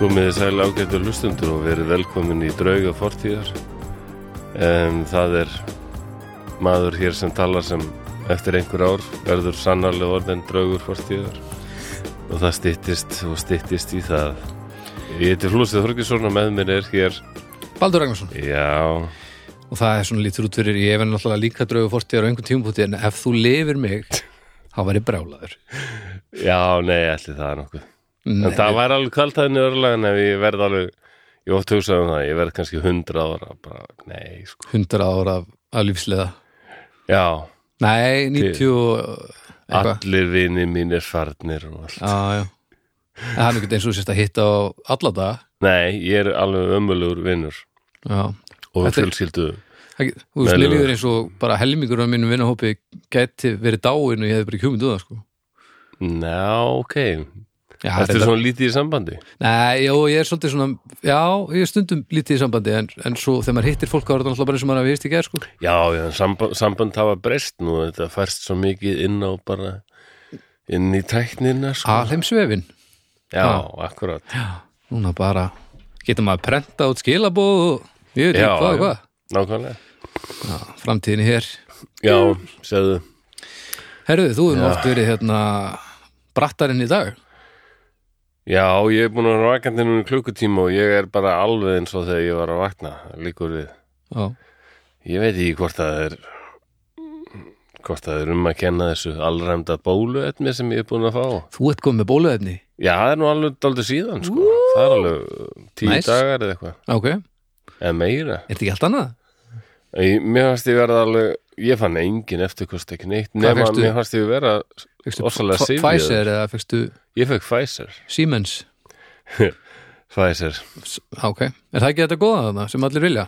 Komið þið sæl ágættu hlustundur og verið velkomin í drauga fortíðar. Um, það er maður hér sem talar sem eftir einhver ár verður sannarlega orðin draugur fortíðar og það styttist og styttist í það. Ég heiti Flósið Þorgesson og með mér er hér, Baldur Ragnarsson já, og það er svona lítur út fyrir ég hef náttúrulega líka draugu fortíðar á einhvern tímpúti en ef þú lifir mig þá væri brálaður já, nei, ætli það er nokkuð. Nei, En það væri alveg kvaltaðinni örlega en ef ég verð alveg, ég ótt hugsaði um það, ég verð kannski hundra ára, bara, nei, sko. 100 ára af, af lífsleða Já, nei, 90 og eitthvað allir vini mínir farnir og allt. já, já En það er nú ekki eins og þú sérst að hitta á alla dag Nei, ég er alveg ömulugur vinnur já og Þetta er- fjölskyldu Það get- Þú veist, Nei, mér nei, líður eins og bara helmingur á mínum vinnahópi gæti verið dáin og ég hefði bara ekki hugmynd um það sko. Ná, ok Já, Þetta er reyndar- svona lítið í sambandi Nei, já, ég er svolítið svona Já, ég er stundum lítið í sambandi en, en svo þegar maður hittir fólk á orðan alltaf bara eins og maður að viðist í gær sko. Já, já, en samband, samband hafa breyst nú þetta færst svo mikið inn á bara inn í tæknina sko. Alheimsvefin Já, Ah. akkurat Núna bara getur maður prenta út skilabóð og ég veit Já, ekki hvað og já. hvað Nákvæmlega framtíðin er hér. Já, segðu Herðu, þú hefur nú oft verið hérna brattarinn í dag. Já, ég er búin að vera vakandi núna í klukkutíma og ég er bara alveg eins og þegar ég var að vakna líkur við Já, Ég veit ekki hvort að það er hvort að það er um að kenna þessu allræmda bóluefni sem ég er búin að fá þú ert komið með bóluefni. Já, það er nú alveg daldur síðan sko. Það er alveg uh, tíu Nice. dagar eða eitthvað Ok, er Eða meira þetta ekki allt annað? ég, Mér fannst ég verða alveg Ég fann engin eftirkost ekki neitt Hvað Nefna fékkstu? mér fannst ég vera Fekstu Ofsalega syfjuð. Pfizer eða fekstu Ég fekk Pfizer Siemens? Pfizer S- Ok, er það ekki þetta góða þarna sem allir vilja?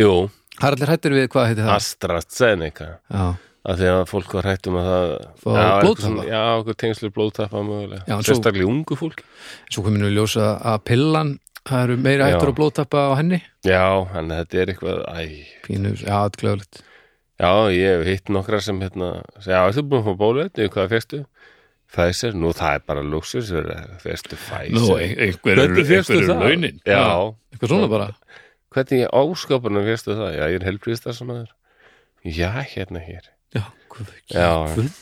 Jú, Það er allir hættir við hvað heitir það? AstraZeneca Já, Af því að fólk var hætt um að það Fá Já, eitthvað blóðtappa? svona- Já, okkur tengslu blóðtappa mögulega Já, en svo- Sérstaklega svo... ungu fólk svo kominu við ljósa að pillan, það eru meira hættur Já. að blóðtappa á henni. Já, en þetta er eitthvað Æ, Pínur, já, þetta er glæðulegt. Já, ég hef hitt nokkra sem hérna, segja, já, þú búin að fá bóluefni, hvað fyrstu? Pfizer, nú það er bara luxus, fyrstu Pfizer. einhver Hvernig fékkstu það? Já, Eitthvað svona bara. hvernig ég áskapunum fyrstu það? Já, ég er helbriðstar sem aður. Já, hérna hér. Já, guð, Já. guð.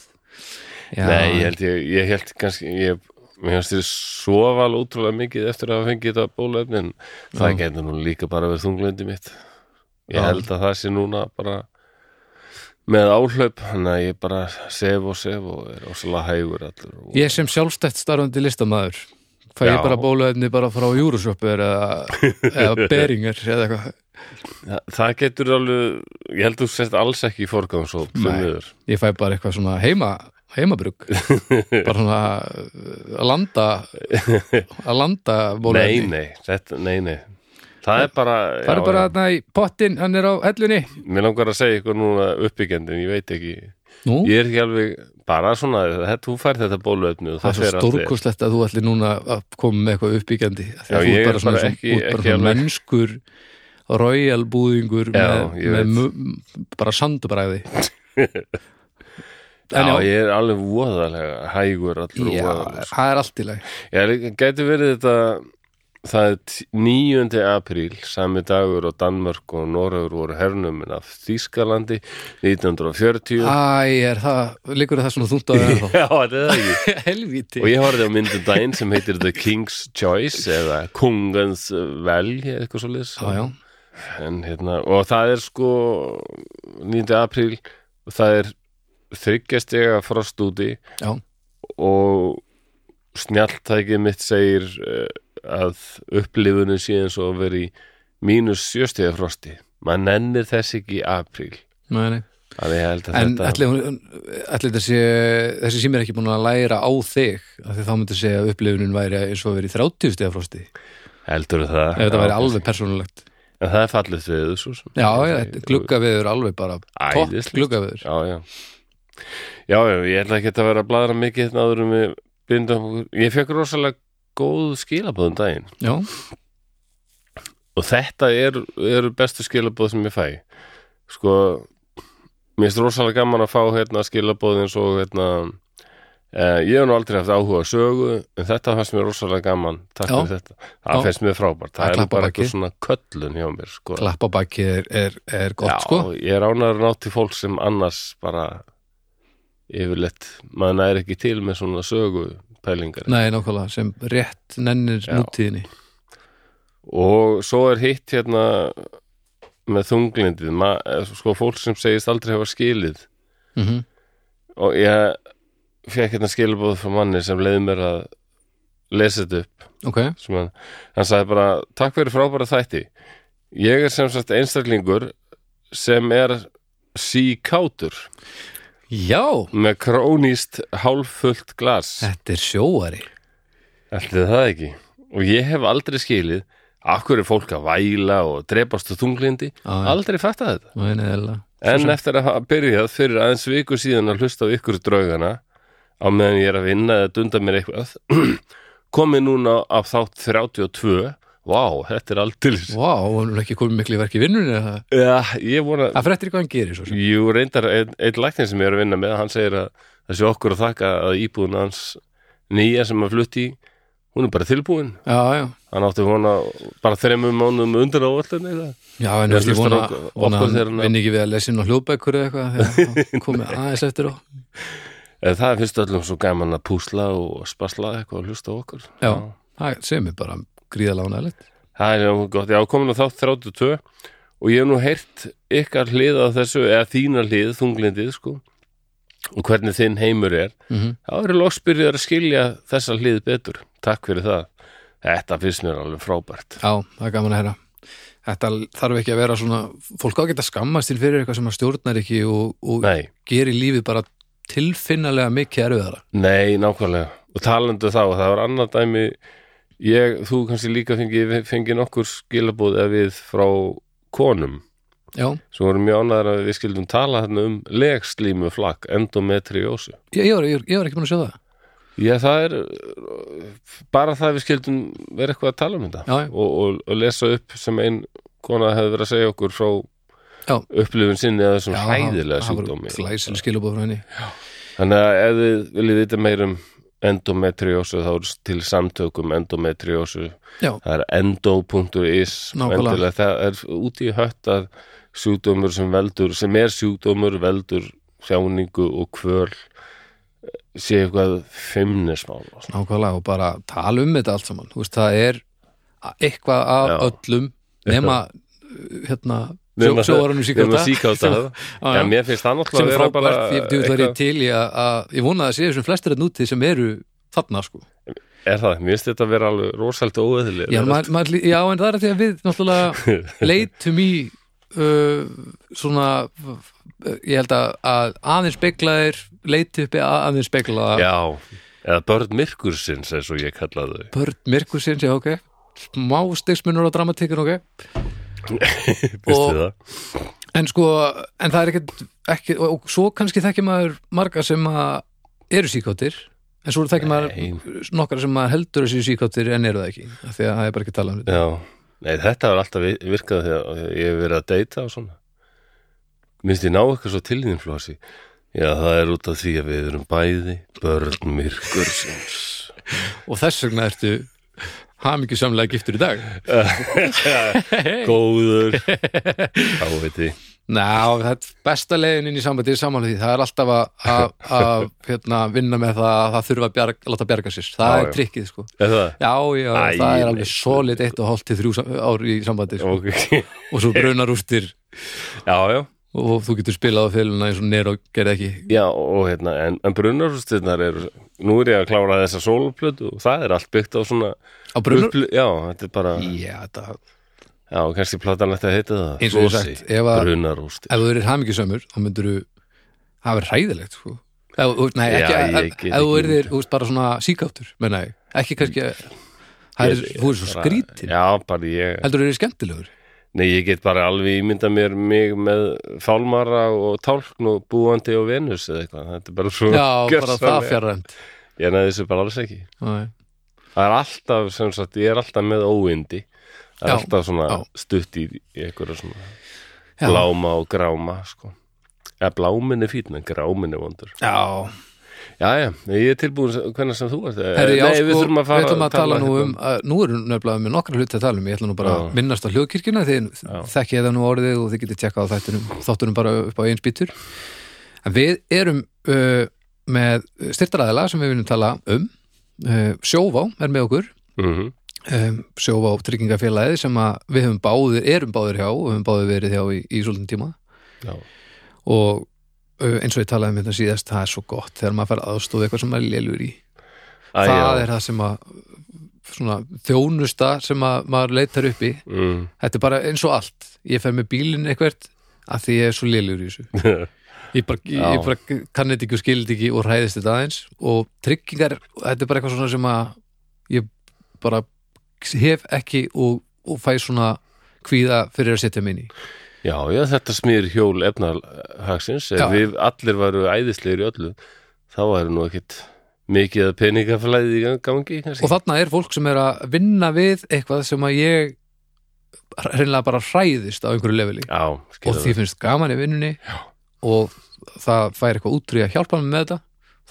Já, Nei, ég held, ég, ég held kannski, ég, mér finnst þér sofa alveg útrúlega mikið eftir að hafa fengið þetta bóluefni, en það getur nú líka bara verið þunglundi mitt. Ég Já. held að það sé núna bara með áhlaup, þannig að ég bara sef og sef og er ósala hægur allur. Og... Ég sem sjálfstætt starfandi listamaður fæ Já. ég bara bóluefni bara frá Euroshop eða, eða Beringer eða eitthvað Þa, það getur alveg, ég held þú sett alls ekki í forgáðumsóp, Nei. þunniður. Ég fæ bara eitthvað svona heima heimabrug bara svona uh, að landa að landa Nei, bóluefni nei, þetta, nei, nei. Það er bara, Það er bara þarna í pottin, hann er á hellunni mér langar að segja ykkur núna uppbyggjandin, ég veit ekki, Nú, ég er ekki alveg, bara svona, þetta, þú fær þetta bóluefni og það er það svo fer allir. stórkostlegt að þú ætlir núna að koma með eitthvað uppbyggjandi af því Já, að þú ég ert er bara svona, bara svona, ekki- ekki, bara ekki svona alveg- mennskur royal búðingur Já, með, ég með veit. mu- bara sandubræði Já, En já, ég er alveg voðalega hægur allur og Já, voðalega. það er allt í lagi Ég gæti verið þetta, það er t- 9. apríl, sami dagur og Danmörk og Noregur voru hernumin af Þýskalandi 1940. Æ, er það, liggur það svona þungt á það Já, þetta er það ekki. Helvíti Og ég horfði á myndum daginn sem heitir The King's Choice eða Kungens Vel eða eitthvað svo liðs Ah, Já, já, en, hérna, og það er sko 9. apríl og það er þryggjastega frost úti já, og snjalltækið mitt segir eh, að upplifunum sé eins og að vera í mínus sjöstega frosti maður nennir þess ekki í apríl nei, nei að ég held að En þetta ætli, hún- ætli þessi, þessi sími er ekki búin að læra á þig af því þá myndi segja að upplifunin væri eins og að vera í 30 stiga frosti ef heldur það þetta Já, væri alveg persónulegt en það er fallið þau svo sem Já, Ég- já, gluggaveður alveg bara topp Æðislegt. gluggaveður já, já já, já, ég ætla ekki að vera að bladra mikið hérna áður um við bindum okkur ég fekk rosalega góð skilabóðum daginn Já, og þetta eru er bestu skilabóð sem ég fæ sko mér finnst rosalega gaman að fá hérna skilabóð eins og hérna Eh, ég hef nú aldrei haft áhuga á sögu en þetta fannst mér rosalega gaman takk Já. fyrir þetta, það Já. finnst mér Að frábært það er nú klappa baki. bara eitthvað svona köllun hjá mér sko. Klappabakki er, er, er gott, Já, sko. ég er ánæður nátt til fólk sem annars bara yfirleitt maður næri ekki til með svona sögu pælingar Nei, nákvæmlega, sem rétt nennir Já. nútíðinni. og svo er hitt hérna með þunglindið Ma, eh, sko fólk sem segist aldrei hafa skilið Mm -hmm. og ég fekk hérna skilabóð frá manni sem leiði mér að lesa þetta upp Ok, sem hann, hann sagði bara takk fyrir frábæra þætti ég er sem sagt einstaklingur sem er síkátur já, með krónist hálffullt glas þetta er sjóari. ætli það ekki og ég hef aldrei skilið af hverju er fólk að væla og drepast á þunglindi Já, já. aldrei fatta þetta Nei, neðalega. en eftir að hafa byrjað fyrir aðeins viku síðan að hlusta á ykkur draugana á meðan ég er að vinna eða dunda mér eitthvað komið núna á þátt 32 vá, þetta er aldrei Vá, hann er ekki komið miklu í verki í vinnunni eða það. Já, ég vona Það frettir hvað hann gerir svo sem. Jú, reyndar, einn ein læknir sem ég er að vinna með hann segir að það sé okkur að þakka að íbúðun hans nýja sem að flutti í hún er bara tilbúin Já, já. hann átti vona bara þreymum mánum undan á allan eða Já, en Ég ég hlusta vona, á okkur- vona okkur þegar hann hann- vinn ekki við að lesa inn á hljóðbækur eða eitthvað þegar hann komið aðeins eftir á. en það finnst öllum svo gaman að púsla og spasla eitthvað og hlusta á okkur Já, það segir mér bara gríðalega ánægilegt. Það er nú gott, já, komin á þátt 32 og ég hef nú heyrt ykkar hlið á þessu, eða þína hlið, þunglindið, sko og hvernig þinn heimur er Mhm. þá eru loksbyrjuðar að skilja þessa hlið betur, takk fyrir það Þetta finnst mér alveg frábært Já, það er gaman að herra. Þetta þarf ekki að vera svona, fólk á að geta skammast til fyrir eitthvað sem að stjórnar ekki og, og Nei, gerir lífið bara tilfinnalega mikið erfiðara. nei, nákvæmlega og talandu þá, það var annað dæmi ég, þú kannski líka fengi, fengi nokkur skilabóð ef við frá konum Já, sem voru mjög ánæður að við skildum tala þarna um legslímuflak, endometriósu ég, ég, var, ég, ég var ekki búin að sjá það. Já, það er uh, bara það að við skildum vera eitthvað að tala um þetta Já, já. og, og, og lesa upp sem ein kona hefði verið að segja okkur frá Já. upplifun sinni að þessum hæðilega það- sjúkdómi. Það var glæsileg skilabóð frá henni. Þannig að ef þið viljið vita meir um endometriósu þá er til samtökum endometriósu Já, það er endo.is Nákvæmlega. endilega, það er út í hött að sjúkdómur sem veldur sem er sjúkdómur, veldur þjáningu og kvöl sé eitthvað feimnismál og svona. nákvæmlega og bara tala um þetta allt saman. Þú veist, það er eitthvað af Já. öllum nema uh, hérna, Nema- sjóvaranum Við síkjóta. erum að síkáta það. Já, mér finnst sem það er náttúrulega að vera bara frábært, ég, ég, ég, ég til í að, að ég vona að það séu sem flestir að nútið sem eru þarna sko. er það, mér finnst þetta að vera alveg rosalega óeðileg já, maður, maður, lí- já, en það er að því að við náttúrulega leitum í uh, svona uh, ég held að, að aðeins beglaðir leitu uppi að aðeins beglaða já, eða börn myrkursins eins og ég kalla þau börn myrkursins, já, ok smá stegsmunur á dramatíkun, ok finnst Og- þið það? En sko, en það er ekkert ekki, og, og svo kannski þekkir maður marga sem að eru síkóttir en svo þekkir maður nokkra sem maður heldur að séu síkóttir en eru það ekki af því að það er bara ekki talað um þetta Já, nei þetta var alltaf vi- virkað þegar ég hef verið að deyta og svona minnst ég ná eitthvað svo til þín flósi já, það er út af því að við erum bæði börn myrkursins og þess vegna ertu hamingjusamlega giftur í dag góður þá veit ég Ná, þetta er besta leiðin inn í sambandi samanlega því, það er alltaf að- að að, hérna, vinna með það að það þurfa að bjarg, láta bjarga sér, það Já, er já. trikkið sko. er það? Já, já, Æ, það er nei. alveg solid eitt og hálft til þrjú sam- ár í sambandi sko. Ok. og svo brunarústir já, já og þú getur spilað á féluna eins og Nero gerði ekki Já, og hérna, en, en brunarústirnar eru, nú er ég að klára þessa sólplötu og það er allt byggt á svona á brunnar uppl- Já, þetta er bara, já, það, já, kannski platan ætti að heita það Eins og ég sagt, ef að- brunarústir ef þú erir hamingjusamur þá myndur þú það verður hræðilegt sko. ef, þú- nei, Já, ekki, ég ef, get ef þú ekki erir þú veist, bara svona síkáttur menna ég, ekki kannski það er, þú er svo skrítin Já, bara ég, heldur þú erir skemmtilegur nei, ég get bara alveg ímynda mér mig með fálmara og tálkn og búandi og venus eða eitthvað, þetta er bara svo já, bara það gjörsamlega- fjarræmt Ég neði þessu bara alls ekki Nei. Það er alltaf, sem sagt, ég er alltaf með óindi Það er Já, alltaf svona já. stutt í, í einhverja svona Já. Bláma og gráma, sko Eða blámin er fín, en grámin er vondur já, Já, já, ég er tilbúin sem- hvenær sem þú ert Herri, já, Eh, Nei, sko, við þurfum að fara tala nú um hérna. að, Nú erum nefnilega með nokkra hluti að tala um Ég ætla nú bara Já. að minnast á hljóðkirkjuna því þekki ég það nú orðið og þið getið tjekkað á þættunum, þáttunum bara upp á eins býtur En við erum uh, með styrtaræðila sem við viljum tala um uh, Sjóvá er með okkur Mhm. um, sjófa á tryggingafélagið sem að við höfum báðir, erum báðir hjá og höfum báðir verið hjá í, í svolítinn tíma Já. og uh, eins og ég talaði um þetta síðast, það er svo gott þegar maður fær aðstofa eitthvað sem maður lélur í Æ, það já. er það sem að svona, þjónusta sem að maður leitar uppi Mm. þetta er bara eins og allt ég fer með bílinn eitthvert að því ég er svo lélur í þessu Mhm. ég bara, ég, Já. ég bara kann þetta ekki og skildi ekki og hræðist þetta aðeins og tryggingar, þetta er bara eitthvað svona sem að ég bara hef ekki og, og fæ svona kvíða fyrir að setja mig inn í já, já, þetta smýr hjól efnahagsins Já. Ef við allir varu æðislegir í öllu þá væri nú ekkit mikið að peningaflæði í gang- gangi kannski. og þarna er fólk sem er að vinna við eitthvað sem að ég hreinlega bara hræðist á einhverju leveli Já, skilur og því finnst gaman í vinnunni Já. og það fær eitthvað útrý að hjálpa mig með þetta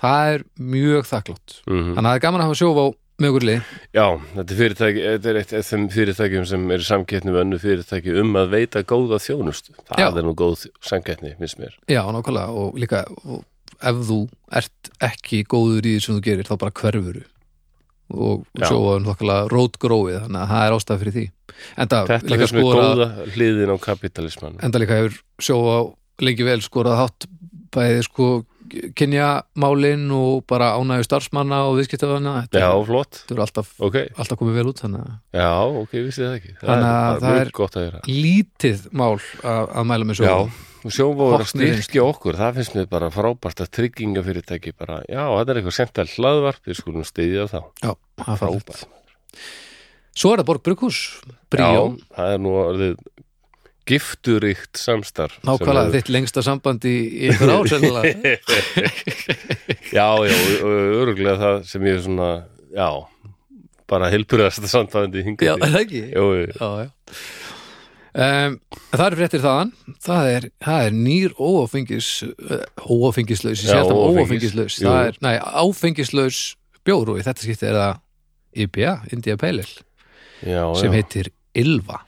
það er mjög þakklátt Mhm. þannig að það er gaman að hafa sjóf á með okkur lið Já, þetta er, fyrirtæki, þetta er eitt af þeim fyrirtækjum sem er samkettni með önnu fyrirtæki um að veita góða þjónustu. Það Já. er nú góð samkettni, minnst mér. Já, nákvæmlega og líka og ef þú ert ekki góður í því sem þú gerir þá bara hverfuru og Já. svo var nákvæmlega rótgróið þannig að það er ástæð fyrir því enda Þetta líka finnst mér skora góða hliðin á kapitalismann. enda líka hefur sjóa lengi vel skorað hátt bæði sko kynjamálin og bara ánægju starfsmanna og viðskiptafanna þetta, Já, flott. þetta er alltaf, Ok, alltaf komið vel út þannig að já, ok, vissi það ekki. Það Þannig að er, það það er- mjög gott að gera. lítið mál að, að mæla með Já, sjóa og sjófóður að Hopnir styrkja okkur, það finnst mér bara frábært að tryggingafyrirtæki bara, já, þetta er eitthvað sental hlaðvarp, við skulum stiðja þá. Já, það er frábært Frábært. Svo er það Borg Brukhus, Bríó Já, það er nú orðið gifturíkt samstarf. sem Nákvæmlega hefur- þitt lengsta samband í, í einhver ár sennilega Já, já, og- og öruglega það sem ég er svona, já, bara helburðast samtvæðandi Já, hingað. er það ekki? Jú, jú. Já, já Um, það er fréttir þaðan það er, það er nýr óáfengis uh, óáfengislaus, ég sé Já, alltaf óáfengis, óáfengislaus jú. það er, nei, áfengislaus bjór og í þetta skipti er það IPA, India Pale Ale, já, sem já. heitir Ylva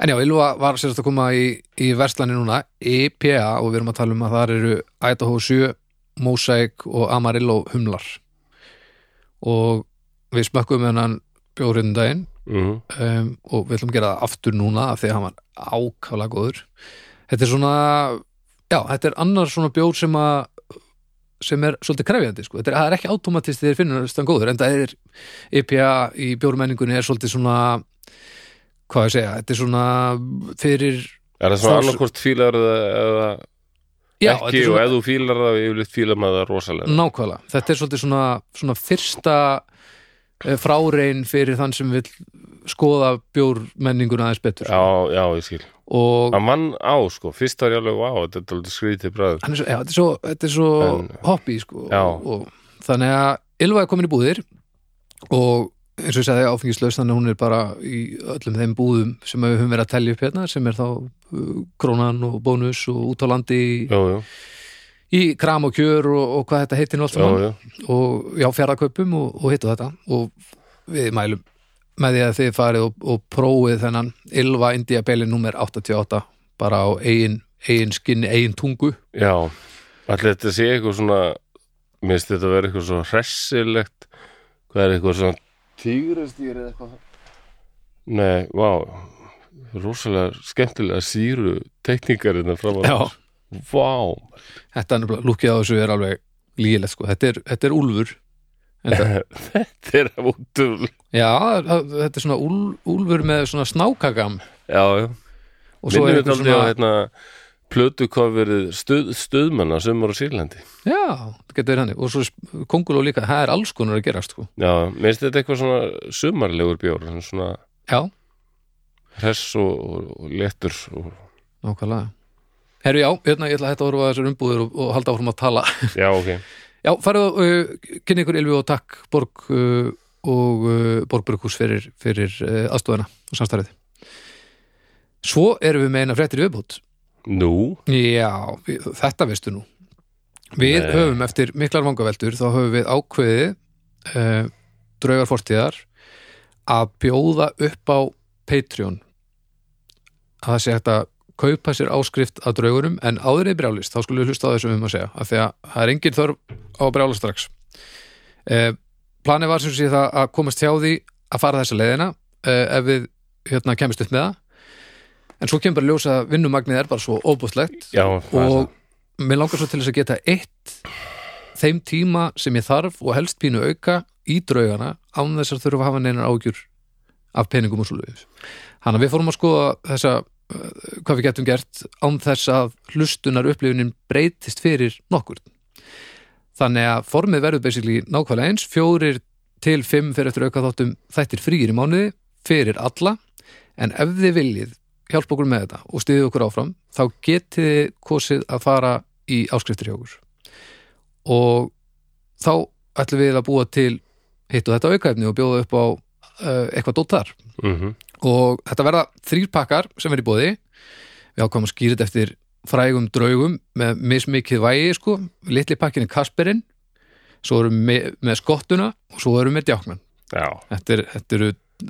en já, Ylva var sérst að koma í, í verslani núna, IPA og við erum að tala um að þar eru Idaho 7 Mosaic og Amarillo humlar og við smökkum með hennan bjórinn um daginn Mhm. um, og við ætlum að gera það aftur núna af því að hann var ákaflega góður þetta er svona já, þetta er annar svona bjór sem að sem er svolítið krefjandi sko. þetta er, það er ekki automatist þegar þeir finnur stann góður en það er IPA í bjórmenningunni er svolítið svona hvað ég segja, þetta er svona fyrir Er það svona Þá- annarkvort fílar það eða já, þetta ekki er og svona, Mm. ef þú fílar það yfirleitt fílar maður það rosalega. nákvæmlega þetta er svolítið svona, svona fyrsta eh, frárein fyrir þann sem vil skoða bjórmenninguna aðeins betur Já, já, ég skil. og Það mann á, sko, fyrst var ég alveg, vá, þetta er alveg skrítið bræður. hann er svo, já, þetta er svo, þetta er svo En- hobby sko Já. og, þannig að Ylva er komin í búðir og eins og ég sagði áfengislaus þannig að hún er bara í öllum þeim búðum sem við höfum verið að telja upp hérna sem er þá uh, krónan og bónus og út á landi í, Jú, jú, í kram og kjör og, og hvað þetta heitir nú allt jú, saman jú. og já, fjaraðkaupum og, og hitt og þetta og við mælum með því að þið farið og, og prófið þennan Ylva India Belin nummer 88 bara á eigin, eigin skinni, eigin tungu Já, allir þetta sé eitthvað svona, mér finnst þetta að vera eitthvað svo hressilegt, hvað er eitthvað svona tígrastýr eða eitthvað Nei, vá, rosalega skemmtilega síru teikningar hérna fram sko. að Vá, Þetta er nefnilega, lúkið á þessu er alveg lígilegt sko, þetta er, þetta er úlfur Enda, þetta er útum Já, það- þetta er svona úl, úlfur með svona snákagam Já, já, og svo minnum er eitthvað þetta aldrei á svona, hérna plötukofverið stuð, stuðmanna sumar á Sýrlandi já, það getur verið hannig og svo konguló líka, það er alls konar að gerast sko. Já, mér finnst þetta eitthvað svona sumarlegur bjór, svona Já, hress og, og, og léttur og, nákvæmlega Herru, já, hérna, ég ætla að hætta að horfa að þessar umbúður og, og halda áfram að tala Já, ok Já, farið og uh, kynni ykkur Ylvi og takk Borg uh, og uh, Borgbrukus fyrir, fyrir uh, aðstofana og samstarfið Svo erum við með eina fréttir í viðbútt Nú, Já, við- þetta veistu nú Við Nei. höfum eftir miklar vangaveldur þá höfum við ákveðið uh, draugar fortíðar að bjóða upp á Patreon að það sé hægt að kaupa sér áskrift að draugurum en áður í brjálist þá skulum við hlusta á þessum um að segja af því að það er engin þörf á brjálist strax uh, planið var sem sé það að komast hjá því að fara þessa leiðina uh, ef við hérna kemist upp með það en svo kemur bara að ljósa að vinnumagnið er bara svo óbústlegt Já, og... og mér langar svo til þess að geta eitt þeim tíma sem ég þarf og helst pínu auka í draugana án þess að þurfa að hafa neinar ágjur af peningum og svo leiðis hann að við fórum að skoða þessa uh, hvað við getum gert án þess að hlustunar upplifunin breytist fyrir nokkur þannig að formið verður basically nákvæmlega eins fjórir til fimm fyrir eftir auka þáttum þættir frýir í mánuði fyrir alla en ef þið viljið hjálpa okkur með þetta og stiðið okkur áfram þá getið þið kosið að fara í áskriftir hjá okkur og þá ætlum við að búa til hitt og þetta aukaefni og bjóða upp á uh, eitthvað dótt þar mm og þetta verða þrýr pakkar sem verður í bóði við ákvæmum að skýra þetta eftir frægum draugum með mismikið vægi sko, litli pakkin er Kasperinn svo erum við með, með skottuna og svo erum við með djáknan já, þetta, er, þetta, eru,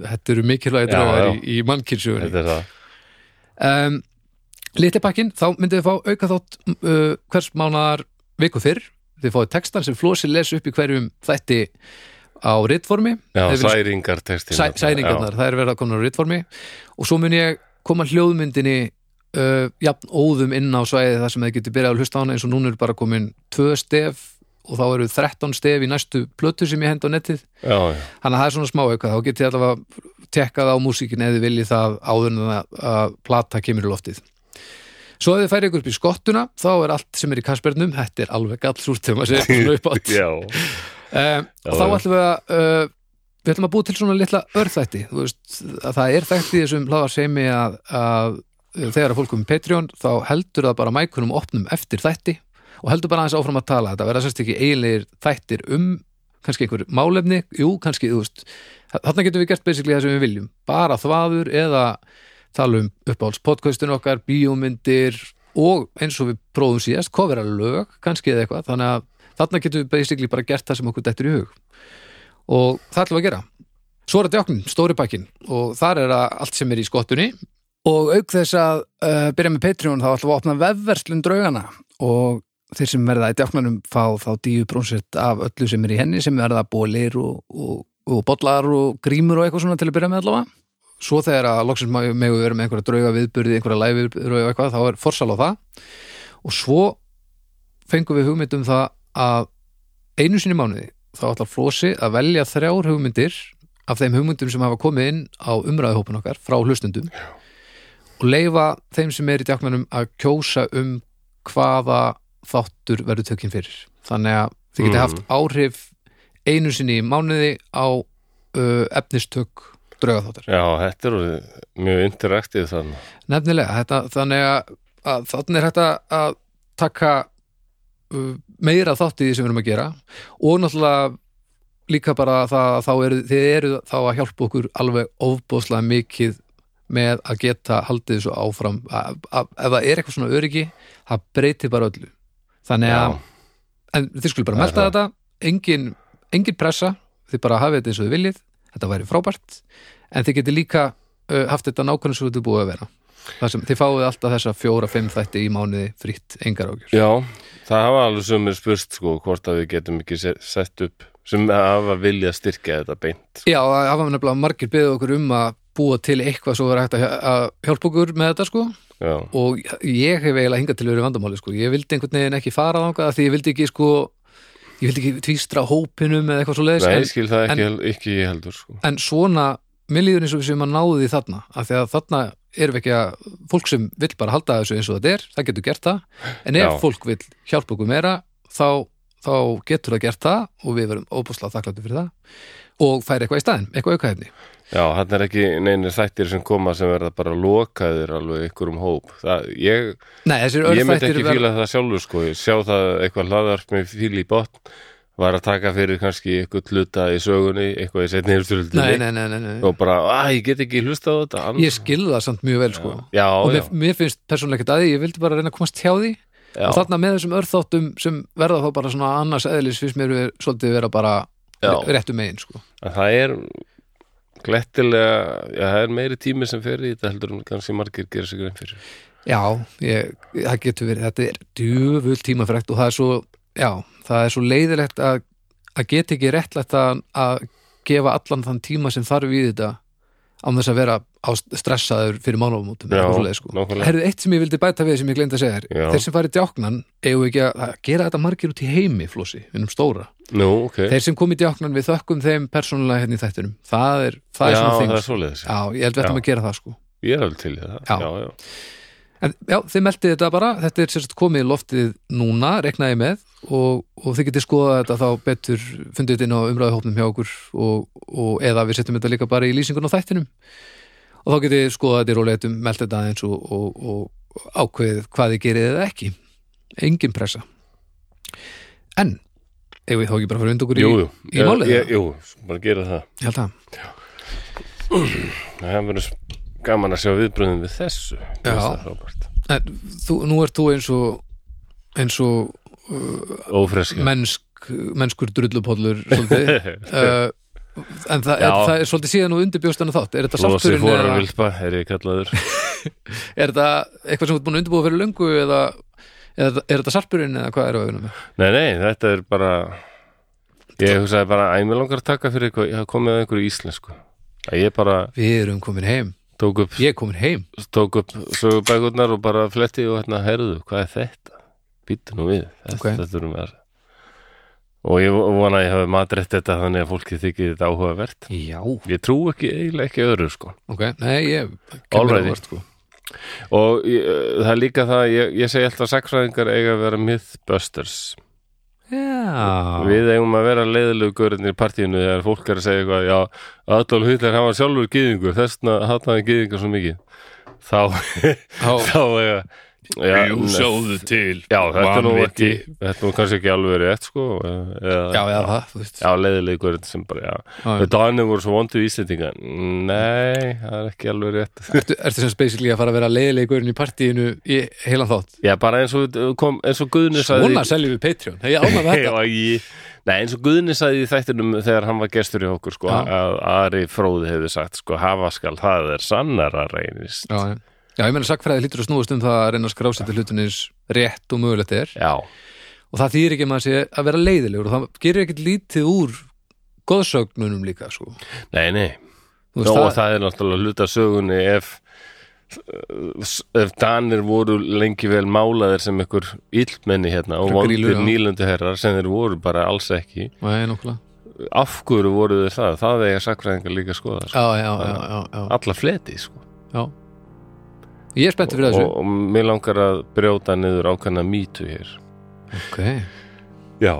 þetta eru mikilvægi Já, draugar já. í, í mannkynsugunni þetta er það um, Litli pakkin, þá myndið þið fá auka þátt uh, hvers mánar viku fyrr þið fáið textan sem Flósi les upp í hverjum þætti á ritformi Já, Þeir vilja- særingartextin sæ, sæningarnar, það er verið að koma á ritformi og svo mun ég koma hljóðmyndinni uh, jafn óðum inn á svæði þar sem þið getur byrjað að hlusta á hana eins og núna eru bara komin tvö stef og þá eru 13 stef í næstu plötu sem ég hend á netið Já, já, já. þannig að það er svona smá eitthvað, þá getið allavega tekkað á músíkin eða viljið það áður en að, að plata kemur í loftið svo ef þið færi ykkur upp í skottuna þá er allt sem er í kaspernum, þetta er alveg gallsúrt þegar maður segir svona upp átt já. um, og þá já. ætlum við að uh, við ætlum að búa til svona litla örþætti þú veist, að það er þekkt í þessum hláðarseimi að, að þegar að fólk um Patreon þá heldur það bara mækunum opnum eftir þætti og heldur bara aðeins áfram að tala þetta verða sérst ekki eiginlegir þættir um kannski einhver málefni, jú, kannski þú veist, þarna getum við gert basically það sem við viljum bara þvaður eða tala um uppáhalds podcastun okkar, bíómyndir og eins og við prófum síðast, kofera lög, kannski eða eitthvað þannig að þarna getum við basically bara gert það sem okkur dettur í hug og það ætlum við að gera svo er að djáknum, stóri pakkin og þar er að allt sem er í skottunni og auk þess að uh, byrja með Patreon þá ætlum við að opna vefverslun draugana og þeir sem verða í djáknanum fá þá 10% af öllu sem er í henni sem verða bólir og, og, og bollar og grímur og eitthvað svona til að byrja með allavega svo þegar að loksins má- megum við vera með einhverja drauga viðburði, einhverja læfviðburði og eitthvað þá er forsal á það og svo fengum við hugmynd um það að einu sinni í mánuði þá ætlar Flósi að velja þrjár hugmyndir af þeim hugmyndum sem hafa komið inn á umræðuhópun okkar frá hlustundum og leifa þeim sem er í djáknanum að kjósa um hvaða þáttur verður tökinn fyrir þannig að þið geti Mm. haft áhrif einu sinni í mánuði á uh, efnistök draugaþáttar já, þetta er orðið mjög interaktíð þannig Nefnilega, þetta, þannig að, að þannig er þetta að taka uh, meira þátt í því sem við erum að gera og náttúrulega líka bara það að þá eru, þið eru þá að hjálpa okkur alveg ofbóðslega mikið með að geta haldið þessu áfram að, að, ef það er eitthvað svona öryggi það breytir bara öllu þannig að, en þið skulle bara Það er melda það. þetta engin, engin pressa þið bara hafið þetta eins og þið viljið þetta væri frábært en þið getið líka uh, haft þetta nákvæmlega svo þetta er búið að vera Það sem, þið fáið alltaf þessa fjóra, fimm þætti í mánuði fritt, engar ágjur Já, það hafa alveg sumir spurst sko hvort að við getum ekki se- sett upp sem hafa vilja styrkja þetta beint sko. Já, það hafa nefnilega margir beðið okkur um að búa til eitthvað svo verið hægt að- að hjálpa okkur með þetta sko Já, og ég hef eiginlega hingað til verið vandamáli sko, ég vildi einhvern veginn ekki fara þangað af því ég vildi ekki sko ég vildi ekki tvístra hópinum eða eitthvað svo leiðis nei, en, ég skil það ekki, ekki ég heldur sko en svona, mér líður eins og við séum að náðu því þarna, af því að þarna erum við ekki að, fólk sem vill bara halda þessu eins og þetta er, það getur gert það en ef Já. fólk vill hjálpa okkur meira þá, þá getur það gert það og við verum óbúslega þakkláttu fyrir það og færi eitthvað í staðinn, eitthvað aukaefni Já, hann er ekki neinir þættir sem koma sem verða bara lokaðir alveg ykkur um hóp það, ég, Nei, þessir ég myndi örfættir ekki fíla það sjálfur sko ég sjá það eitthvað hlaðarp með fíl í botn var að taka fyrir kannski eitthvað hluta í sögunni, eitthvað í nei, setni heimstöldinni nei, nei, nei, nei. og bara, að ég get ekki hlusta á þetta annars." Ég skilði það samt mjög vel sko Já, og já, mér, mér finnst persónlega ekki að því, ég vildi bara reyna að komast hjá því Já. og þarna með þessum örþáttum sem verða þá bara svona annars eðlis fyrst mér er svolítið vera bara Já. réttu megin sko. En það er glettilega, já, það er meiri tími sem fer í þetta heldur en kannski margir gera sig grein fyrir. já, ég, það getur verið þetta er djöfull tímafrekt og það er svo já, það er svo leiðilegt að, að geta ekki réttlegt að, að gefa allan þann tíma sem þarf í þetta án þess að vera á stressaður fyrir mánofamótum Já, sko. nákvæmlega. Herðu, eitt sem ég vildi bæta við sem ég gleymdi að segja Já. þér þeir sem farið djáknan, eigum við ekki að að gera þetta margir út í heimi, Flossi, vinnum stóra Nú, ok. Þeir sem kom í djáknan við þökkum þeim persónulega hérna í þættinum Það er, það er já, svona það þing er svoleiðis. Já, ég held við ættum Já. að gera það sko Ég er alveg til í það. Já. já. já. En já, þið meldið þetta bara, þetta er sérst komið í loftið núna, reknaði með og, og þið getið skoðað þetta þá betur fundið þetta inn á umræðuhópnum hjá okkur og, og eða við setjum þetta líka bara í lýsingun á þættinum og þá getið þið skoðað þetta í róleitum, meldið þetta aðeins og, og, og ákveðið hvað þið gerið eða ekki Engin pressa En, eigum við þá ekki bara að fara undir okkur Jú, í, jú. í málið Ég- það? Jú, bara gera það. Ég held það Það verður s- gaman að sjá viðbröðum við þessu. Mér Já. finnst það frábært. En, þú, nú ert þú eins og eins og Ófreskja. mennsk, mennskur drullupollur svolítið uh, en það er, Já. það er svolítið síðan og undirbjóstana þátt er þetta Lósi sátturinn fóra eða vilpa, er ég kallaður. er þetta eitthvað sem þú ert búin að undirbúa fyrir löngu eða, eða er þetta sarpurinn eða hvað er það auðvitað með Nei, nei, þetta er bara ég hugsaði bara að mér langar að taka fyrir eitthvað, ég hafa komið að einhverju íslensku að ég bara við erum komin heim, tók upp, ég er komin heim tók upp sögubækurnar og bara fletti og hérna, heyrðu, hvað er þetta? Býttu nú við, þetta, Ok. þetta erum við að og ég vona að ég hafi matrætt þetta þannig að fólki þykir þetta áhugavert já, ég trú ekki, eiginlega ekki öðru sko ok, nei ég All kemur righty. óvart, sko. og ég, það er líka það, ég, ég segi alltaf að sagnfræðingar eiga að vera mythbusters já, Við eigum að vera leiðilegu görðin í partíinu þegar fólk er að segja eitthvað já, Adolf Hitler, hann var sjálfur gyðingur þessna hatnaði gyðingur svo mikið þá, þá þá eiga já, Jú, sjáðu til já, þetta er nú ekki Vanviti. þetta er nú kannski ekki alveg rétt sko eða, já, já, það, þú veist já leiðilegu görðin sem bara, já, Já, já. já. Danir voru svo vondu íslendinga nei, það er ekki alveg rétt ertu, ertu sem spesifíli að fara að vera leiðilegurinn í partíinu í heilan þátt já, bara eins og, kom, eins og Guðni sagði- svona seljum við Patreon, hei ánað þetta Já, ég, nei, eins og Guðni sagði í þættinum þegar hann var gestur í okkur sko, Já. að Ari Fróði hefði sagt sko, hafa skal það er sannara reynist Já, já. já, ég meina sakfræði hlýtur að snúast um það að reyna að skrásetja hlutinins rétt og mögulegt er Já, og það þýr ekki að maður sé að vera leiðilegur og það gerir ekkert lítið úr góðsögnunum líka sko. nei, nei Þú Nó, veist, og það, það er náttúrulega hluta sögunni ef, ef Danir voru lengi vel málaðir sem ykkur illmenni hérna og Einhver grýlur, vondir já. nýlundu herrar sem þeir voru bara alls ekki Nei, nokkulega. af hverju voru þeir það, það eiga sakfræðingar líka að skoða sko. já, já, já, já, já, alla fleti sko. já Ég er spenntið fyrir og, þessu og mér langar að brjóta niður ákveðna mýtu hér Ok, Já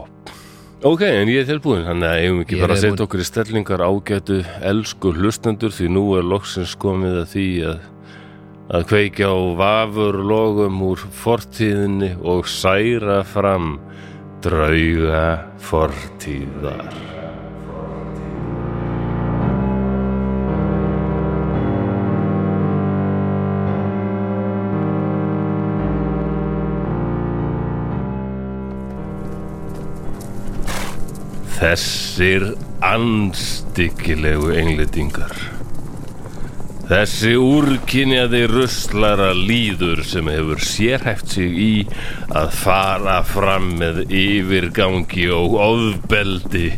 Ok, en ég er tilbúin, þannig að eigum ekki Ég er bara að setja tilbúinn. okkur í stellingar ágætu elsku hlustendur því nú er loksins komið að því að, að kveikja á vafur logum úr fortíðinni og særa fram drauga fortíðar Þessir andstyggilegu englendingar Þessi úrkynjaði ruslara líður sem hefur sérhæft sig í að fara fram með yfirgangi og ofbeldi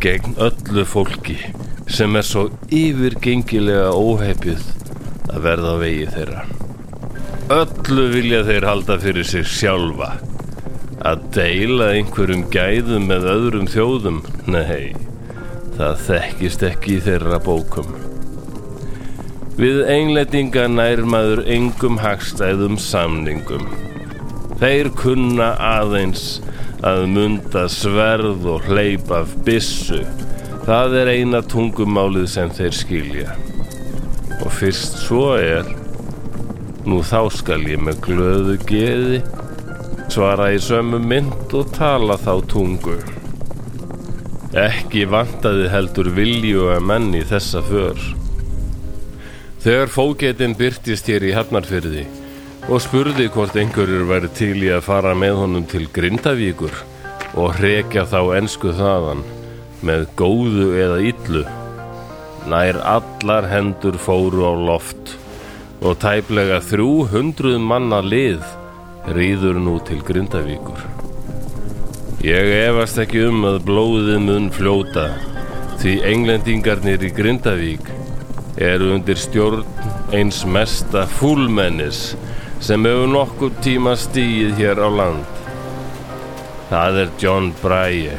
gegn öllu fólki sem er svo yfirgengilega óheipið að verða á vegi þeirra. Öllu vilja þeir halda fyrir sig sjálfa Að deila einhverjum gæðum með öðrum þjóðum? Nei, það þekkist ekki í þeirra bókum. Við englendinga nærmaður engum hagstæðum samningum. Þeir kunna aðeins að munda sverð og hleypa af byssu. Það er eina tungumálið sem þeir skilja. Og fyrst svo er, nú þá skal ég með glöðu geði svara í sömu mynd og tala þá tungu. Ekki vantaði heldur vilju að menn í þessa för. Þegar fógetin byrtist hér í Hafnarfyrði og spurði hvort einhverjur væri til í að fara með honum til Grindavíkur og hrekja þá ensku þaðan með góðu eða illu. Nær allar hendur fóru á loft og tæplega 300 manna lið rýður nú til Grindavíkur. Ég efast ekki um að blóðið mun fljóta því englendingarnir í Grindavík eru undir stjórn eins mesta fúlmennis sem hefur nokkur tíma stíð hér á land. Það er John Braie,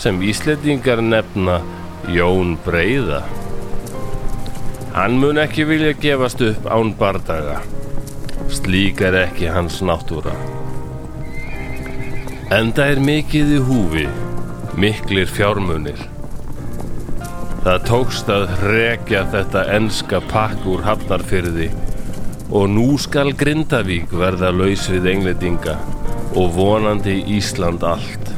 sem Ísletingar nefna Jón Breiða. Hann mun ekki vilja gefast upp án bardaga. Slík er ekki hans náttúra. Enda er mikið í húfi, miklir fjármunir. Það tókst að hrekja þetta enska pakk úr hafnarfyrði og nú skal Grindavík verða laus við englendinga og vonandi Ísland allt.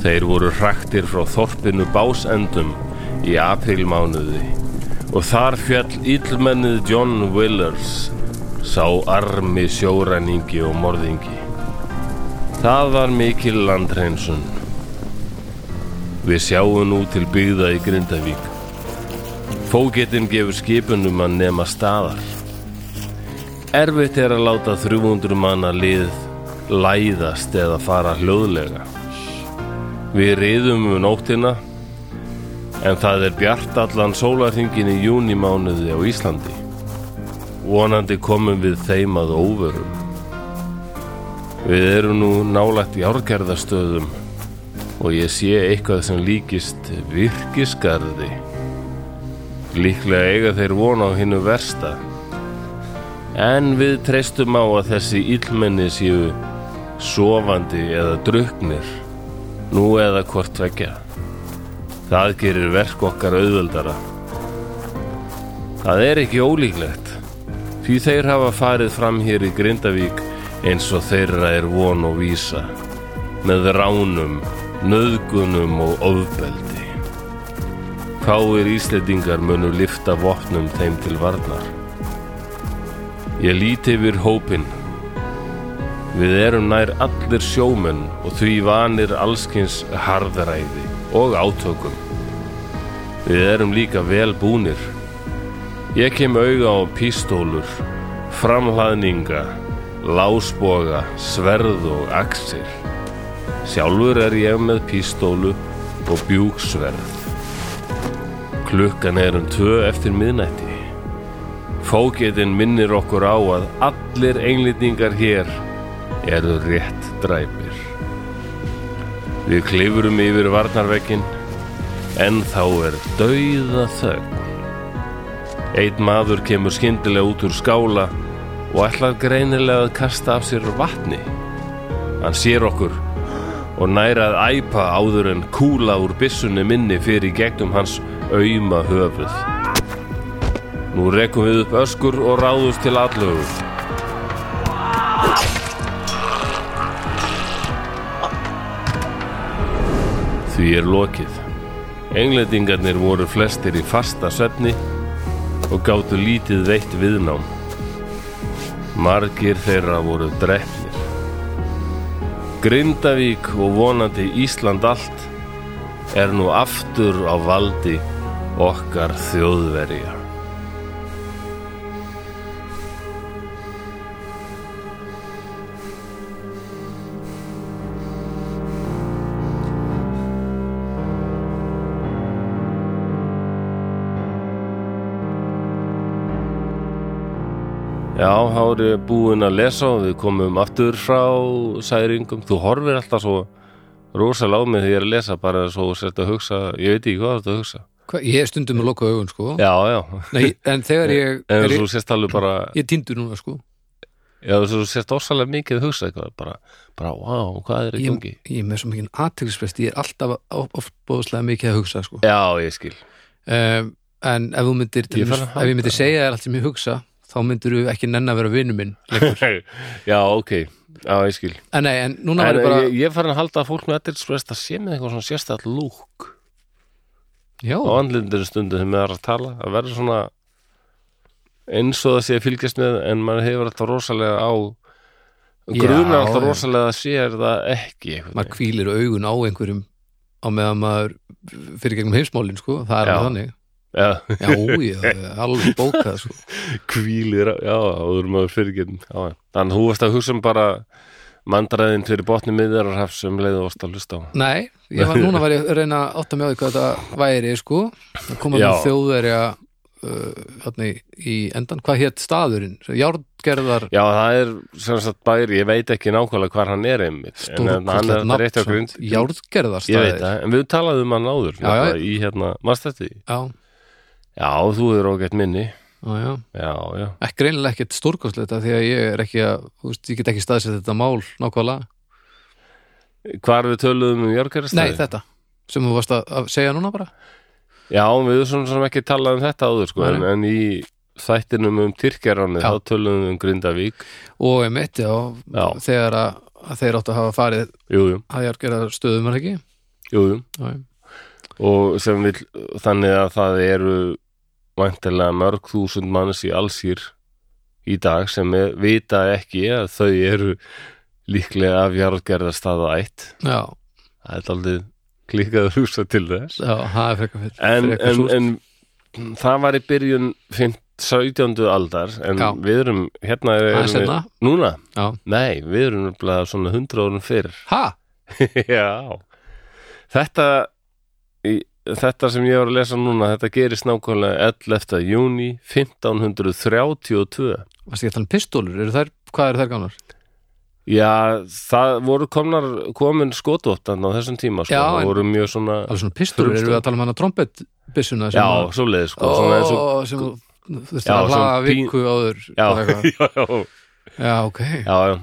Þeir voru hraktir frá þorpinu Básendum í aprilmánuði og þar fjall íllmennið John Willers sá armi sjóræningi og morðingi. Það var mikil landhreinsun. Við sjáum nú til byggða í Grindavík. Fókettin gefur skipunum að nema staðar. Erfitt er að láta 300 manna lið læðast eða fara hljóðlega. Við reyðum um nóttina en það er bjart allan sólarhingin í júnimánuði á Íslandi. Vonandi komum við þeim að óverum. Við erum nú nálægt í árgerðastöðum og ég sé eitthvað sem líkist virkisgarði. Líklega eiga þeir von á hinnu versta. En við treystum á að þessi illmenni séu sofandi eða druknir, nú eða hvort tvekja. Það gerir verk okkar auðvöldara. Það er ekki ólíklegt, því þeir hafa farið fram hér í Grindavík eins og þeirra er von og vísa, með ránum nöðgunum og ofbeldi. Fáir Ísletingar munu lifta vopnum þeim til varnar. Ég líti yfir hópin. Við erum nær allir sjómenn og því vanir allskins harðaræði og átökum. Við erum líka vel búnir. Ég kem auga á pístólur, framhlaðninga, lásboga, sverð og axir. Sjálfur er ég með pístólu og bjúksverð. Klukkan er um tvö eftir miðnætti. Fóketinn minnir okkur á að allir englendingar hér eru rétt dræpir. Við klifurum yfir varnarvekkin en þá er dauða þögn. Eitt maður kemur skyndilega út úr skála og ætlar greinilega að kasta af sér vatni. Hann sér okkur og nærað æpa áður en kúla úr bissunni minni fyrir gegnum hans auðma höfuð. Nú rekum við upp öskur og ráðust til allögur. Því er lokið. Englendingarnir voru flestir í fasta svefni og gáttu lítið veitt viðnám. Margir þeirra voru drefni. Grindavík og vonandi Ísland allt er nú aftur á valdi okkar þjóðverja. Já, þá er ég búinn að lesa og við komum aftur frá særingum. Þú horfir alltaf svo rosalega á mig þegar ég er að lesa, bara svo sért að hugsa, ég veit ekki hvað þú ert að hugsa. Hva? Ég er stundum að loka augun sko Já, já, Nei, En þegar ég en er, þú sést alveg bara, Ég týndur núna sko já, þú sést ósalega mikið að hugsa eitthvað, bara, bara, wow, hvað er í Ég, gangi? ég er með svo mikið aðtilsprest Ég er alltaf ofbóðslega mikið að hugsa sko Já, ég skil. um, En ef þú myndir til Ég dæmis- fara Ef að ég halda. myndir segja þér allt sem ég hugsa þá myndir þú ekki nenn að vera vinnu minn já, ok, já, ég skil. En nei, en núna var En eh, ég bara ég, ég fann að halda að fólk með aðeinsprest að sé með eitthvað svona sérstætt lúk Já, á andlindur stundu þegar maður er að tala, að verða svona eins og það sé að fylgjast með en maður hefur alltaf rosalega á grunar Já, alltaf já. rosalega að sér það ekki einhvern maður kvílir augun á einhverjum á meðan maður fyrir gegnum heimsmálin sko, það er Já. alveg þannig veginn. já, ég, það er alveg bókað sko. Já, kvílir, á- já, áður maður fyrirgetum þannig þú varst að hugsa um bara mandræðin fyrir botni miðjararhafs um leiðu varst að hlusta á nei, ég var, núna var ég að reyna að átta mig á því hvað þetta væri sko. það koma Já. með þjóðverja uh, þarna í, í endan, hvað hétt staðurinn járgerðar Já, það er sem sagt bæri, ég veit ekki nákvæmlega hvar hann er einmitt, en hérna, hann er þetta rétt á grund járgerðar Ég veit staðir það, en við talaðum um hann áður Já, já. nefnilega, í hérna, maður stætti já, Já, þú er ágætt minni já, já Já, já, ekki reynilega ekkert stórkostlegt af því að ég er ekki að, þú veist, ég get ekki staðsett þetta mál nákvæmlega, hvar við töluðum um nei jörgarastæði þetta sem þú varst að- að segja núna bara Já, við erum svona sem ekki talað um þetta áður sko, Nei. en, en í þættinum um Tyrkjaráni, Já. þá töluðum við um Grindavík og ég mitt, já, Já. þegar að, að þeir áttu að hafa farið Jú, jú, að ég er gerða stöðum er ekki jú, jú. Já, já. og sem vil þannig að það eru væntilega mörg þúsund manns í allsýr í dag sem er, vita ekki að þau eru líklega af jarðgerðarstaða ætt já, það er aldrei klikkað að hugsa til þess já, það er frekar fyrir en, frekar en, súrt. en það var í byrjun fimmt- 17. aldar en Já. við erum hérna erum aðeins við, hérna, núna, Já. nei, við erum nefnilega svona 100 árum fyrr ha, Já Þetta í- Þetta sem ég var að lesa núna Þetta gerist nákvæmlega 11. júni 1532 varst ekki að tala um pistólur eru þær, hvað eru þær gamlar? Já, það voru komnar komin skotvottan á þessum tíma sko. Já, það en- voru mjög svona alveg svona pistólur, eru við að tala um hana trombetbissuna sem, Já, svoleiðið sko svona að, eins og, ó, sem þú- þú þurfti Já, að hlaða svona pín- viku áður bara já, eitthvað. já, já, já, ok, já, já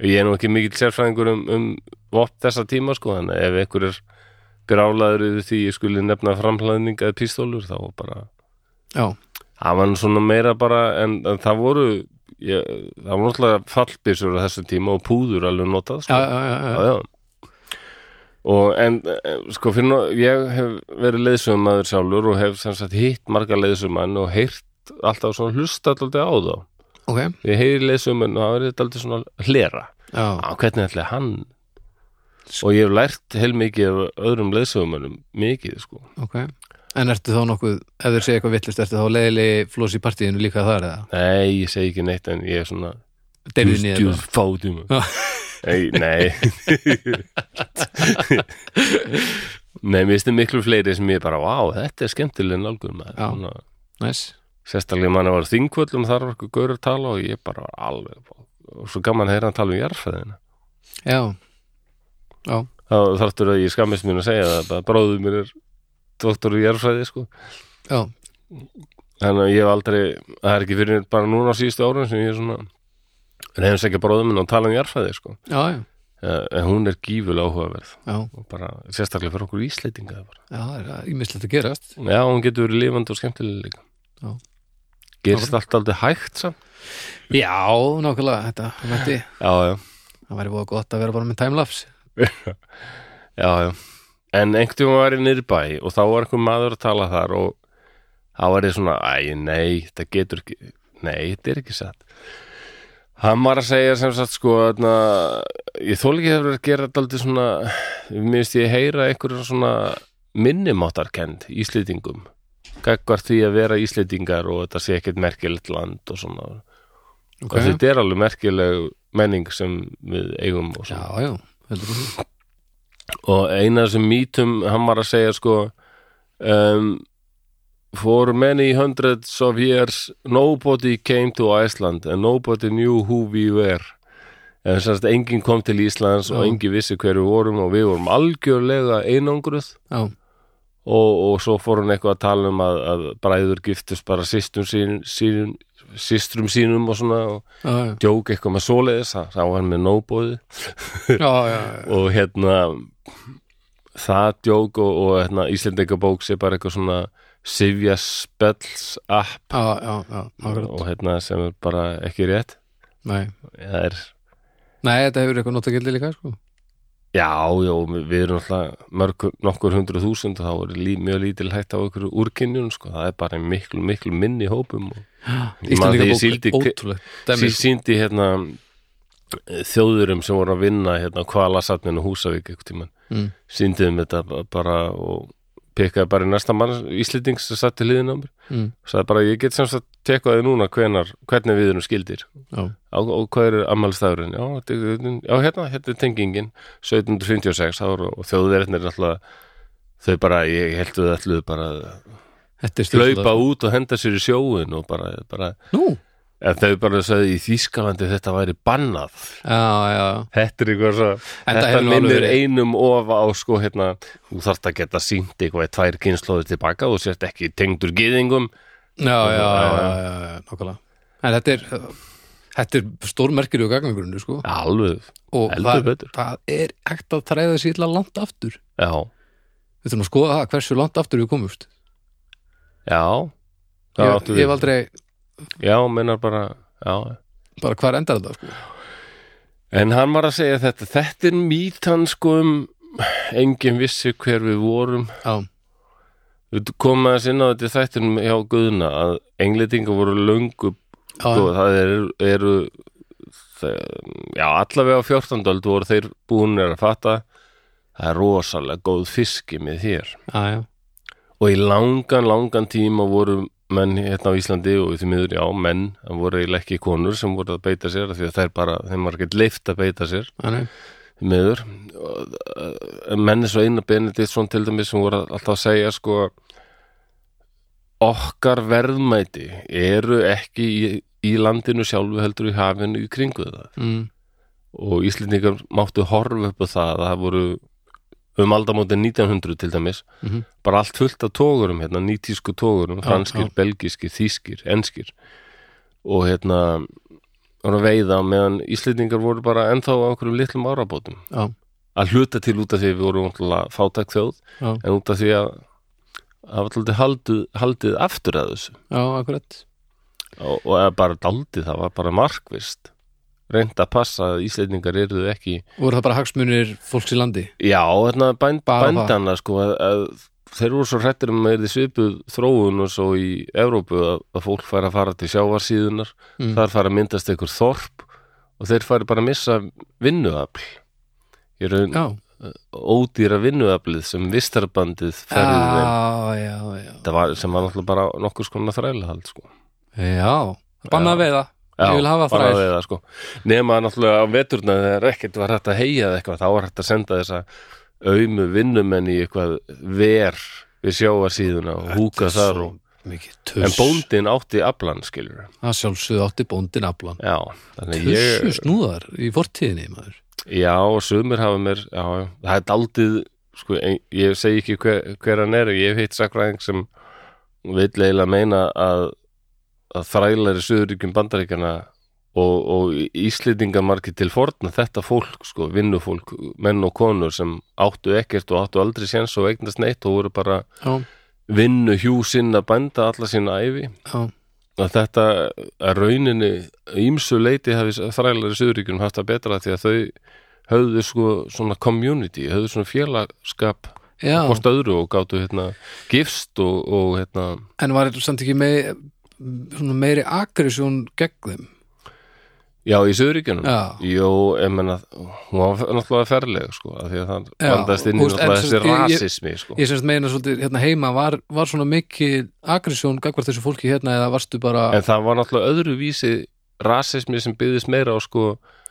Ég er nú ekki mikill sérfræðingur um, um vopn þessa tíma sko en ef einhver er grálaður yfir því ég skuli nefna framhlaðning eða pistólur þá bara já, Það var nú svona meira bara en, en það voru ég, það voru náttúrulega fallbysur á þessu tíma og púður alveg já, notað sko. já, já, já. já. og en eh, sko fyrir nú, ég hef verið leiðsögumadur sjálfur og hef sem sagt hitt marga leiðsögumann og heyrt alltaf svona hlusta alltaf á þá ok, ég heyri leiðsögumann og það verið þetta alltaf svona hlera já, á hvernig ætli hann og ég hef lært heilmikið af öðrum leiðsögumannum mikið sko ok en ertu þá nokkuð, ef þeir segja eitthvað vittlust ertu þá leiðileg flós í partíinu líka þar eða nei, ég segi ekki neitt en ég er svona deyfið nýður fátum Já. Nei, nei Nei, mér stu miklu fleiri sem ég bara, vá, þetta er skemmtileg nálgur maður Já. Svona, nice. Sérstaklega mann var þingvöllum þar var okkur gaur að tala og ég bara var alveg og svo gaman að heyra hann tala um jarfæðina já, já þá þarftur að ég skammist mér að segja það bara bróður mér er doktor í jarfæði sko. Já, þannig að ég hef aldrei það er ekki fyrir bara núna á síðustu árum sem ég er svona reyðum segja bróður minn og tala um jarfæði sko. já, já, Eh, en hún er gífulega áhugaverð já, og bara sérstaklega fyrir okkur íslendinga bara. já, það er ímislegt að gerast já, hún getur verið lifandi og skemmtileg líka Já. gerist allt aldrei hægt samt Já, nákvæmlega, þetta það mætti, já, já, það væri búið gott að vera bara með timelapse já, já. en einhvern tímann var ég nýrbæ og þá var einhver maður að tala þar og þá var ég svona, æ, nei þetta getur ekki, nei, þetta er ekki satt hann var að segja sem sagt sko, þarna ég þóla ekki þegar að gera þetta aldrei svona minnst ég heyra einhverjum svona minnimáttarkend íslendingum gagvar því að vera íslendingar og þetta sé ekkert merkilegt land og svona Ok, okay. þetta er alveg merkileg menning sem við eigum og já, svona já, heldur þú og eina af þessum mítum hann var að segja sko um, for many hundreds of years nobody came to Iceland and nobody knew who we were en sannst enginn kom til Íslands og Já. enginn vissi hver við vorum og við vorum algjörlega einangruð Já, og, og svo fór hann eitthvað að tala um að, að bræður giftust bara systrum sínum, sínum systrum sínum og svona og já, já, djók eitthvað með svoleiðis þá þá var hann með nóbóði já, já, já. og hérna það djók og, og hérna, Íslendingabók sé bara eitthvað svona Sivja Spells app já, já, já, nákvæmlega og hérna sem er bara ekki rétt Nei, það er, nei, þetta hefur eitthvað notagildi líka, sko Já, já, við erum alltaf mörg, nokkur hundruð þúsund og þá er lí, mjög lítil hægt á ykkur úrkynjun sko. það er bara miklu, miklu minni hópum og Ég man þegar ég Íslandingabók, síldi- ótrúlegt dæmi, Sý, sko. síndi hérna eh, þjóðurum sem voru að vinna hérna á kvalasatninu Húsavík eitthvað tíman Mm. síndum þetta ba- bara og pekkaði bara í næsta mann íslending sem satt til hliðin á mér Mm. og sagði bara ég get semst að tekka þið núna hvenar, hvernig við erum skildir Já. á, og hvað eru ammælstafurinn já, þetta er- já, hérna, hérna er tengingin 1756 ár og þjóðverðin er alltaf þau bara, ég heldur þau allu bara að Þetta er stilfullt, hlaupa sko. út og henda sér í sjóin og bara, bara Nú, En þau bara sagði í Þýskalandi þetta væri bannað. já, já, Þetta er eitthvað svo, En það þetta hefur nú alveg minnir verið. einum of á sko hérna, þú þarft að geta sínt eitthvað í tvær kynnslóður tilbaka og sért ekki tengdur gyðingum. já, já, já, Já, já, já, já nokkulega. En þetta er, uh, þetta er stórmerkir og gagnagrunnur, sko. Alveg, Og heldur það, betur. það er hægt að træða sér illa langt aftur. já, Við þurfum að skoða það, hversu langt aftur við komumst. já. Ég, Það áttu ég hef við. aldrei, Já, mennar bara, já. bara hvar endar þetta, sko. En hann var að segja þetta, þetta er mýtan sko um engin vissi hver við vorum Já, Við komum aðeins inn á þetta í þættinum hjá Guðna að englendingar voru löngu já, sko, það eru, eru það, já, allavega á 14. öld voru þeir búinir að fatta það er rosalega góð fiski með þér já, já, og í langan, langan tíma voru menn hérna á Íslandi og því miður, já, menn það voru eiginlega ekki konur sem voru að beita sér af því að þær bara, þeim var ekki leift að beita sér já, nei. því miður Og, uh, menn eins og eina Benediktsson til dæmis sem voru alltaf að segja sko okkar verðmæti eru ekki í, í landinu sjálfu heldur í hafinu í kringu það Mm, og Íslendingar máttu horfa upp á það að það voru um aldamóti 1900 til dæmis Mhm. bara allt fullt af tógurum, hérna, nýtísku tógurum franskir, já. belgískir, þýskir, enskir og hérna voru að veiða meðan Íslendingar voru bara ennþá á einhverjum litlum árabótum já, að hluta til út af því að við vorum náttúrulega fátæk þjóð já, en út af því að að var alltaf haldið, haldið aftur að þessu já, akkurat. og, og eða bara daldið það var bara markvist reynd að passa að Íslendingar eruðu ekki Voru það bara hagsmunir fólks í landi? Já, þarna bænd, Bara það. bændana sko að, að þeir voru svo hrættir um að er þið svipuð þróun og svo í Evrópu að, að fólk fær að fara til sjávarsíðunar Mm. þar fær að myndast einhver þorp og þeir færi bara að missa vinnuafl ég raun Já, ódýra vinnuaflið sem vistarbandið já, færði þeim já, já. Það var, sem var náttúrulega bara nokkur skona þrælahald sko. Já, banna að veiða Ég vil hafa bara þræl. við það, sko. nema náttúrulega á veturna þegar ekkert var hægt að heia eða eitthvað þá var hægt að senda þessa aumu vinnumenn í eitthvað ver við sjáarsíðuna og húka þar og, Mikið en tuss bóndin átti aflan skilur Það sjálfsögðu átti bóndin aflan já, þannig Tussu ég snúðar í fortíðinni maður já, og sumir hafa mér já, já, það er daldið sko, en, ég segi ekki hver, hver hann er ég hef heitt sakræðing sem vill eiginlega meina að, að þrælari söðuríkjum bandaríkjana og, og íslendingar margir til forna þetta fólk, sko, vinnufólk menn og konur sem áttu ekkert og áttu aldrei séns og eignast neitt og voru bara Já, vinnu hjú sinna bænda alla sína ævi já, að þetta að rauninni ímsu leiti hafi þrælari söðuríkjum haft það betra því að þau höfðu sko svona community, höfðu svona félagskap já. hvort öðru og gátu hérna gifst og, og hérna En var þetta samt ekki mei, svona meiri aggressjón gegn þeim já í söðuríkjunum Já. Jó, ég menna, hún var náttúrulega ferleg sko, af því að það Já, vandast inn í þú veist, en sem náttúrulega þessi sagt, ég- ég- rasismi sko. Ég semst meina svolítið hérna heima var, var svona mikið aggressjón gagvart þessu fólki hérna eða varstu bara en það var náttúrulega öðru vísi rasismi sem byggðist meira á sko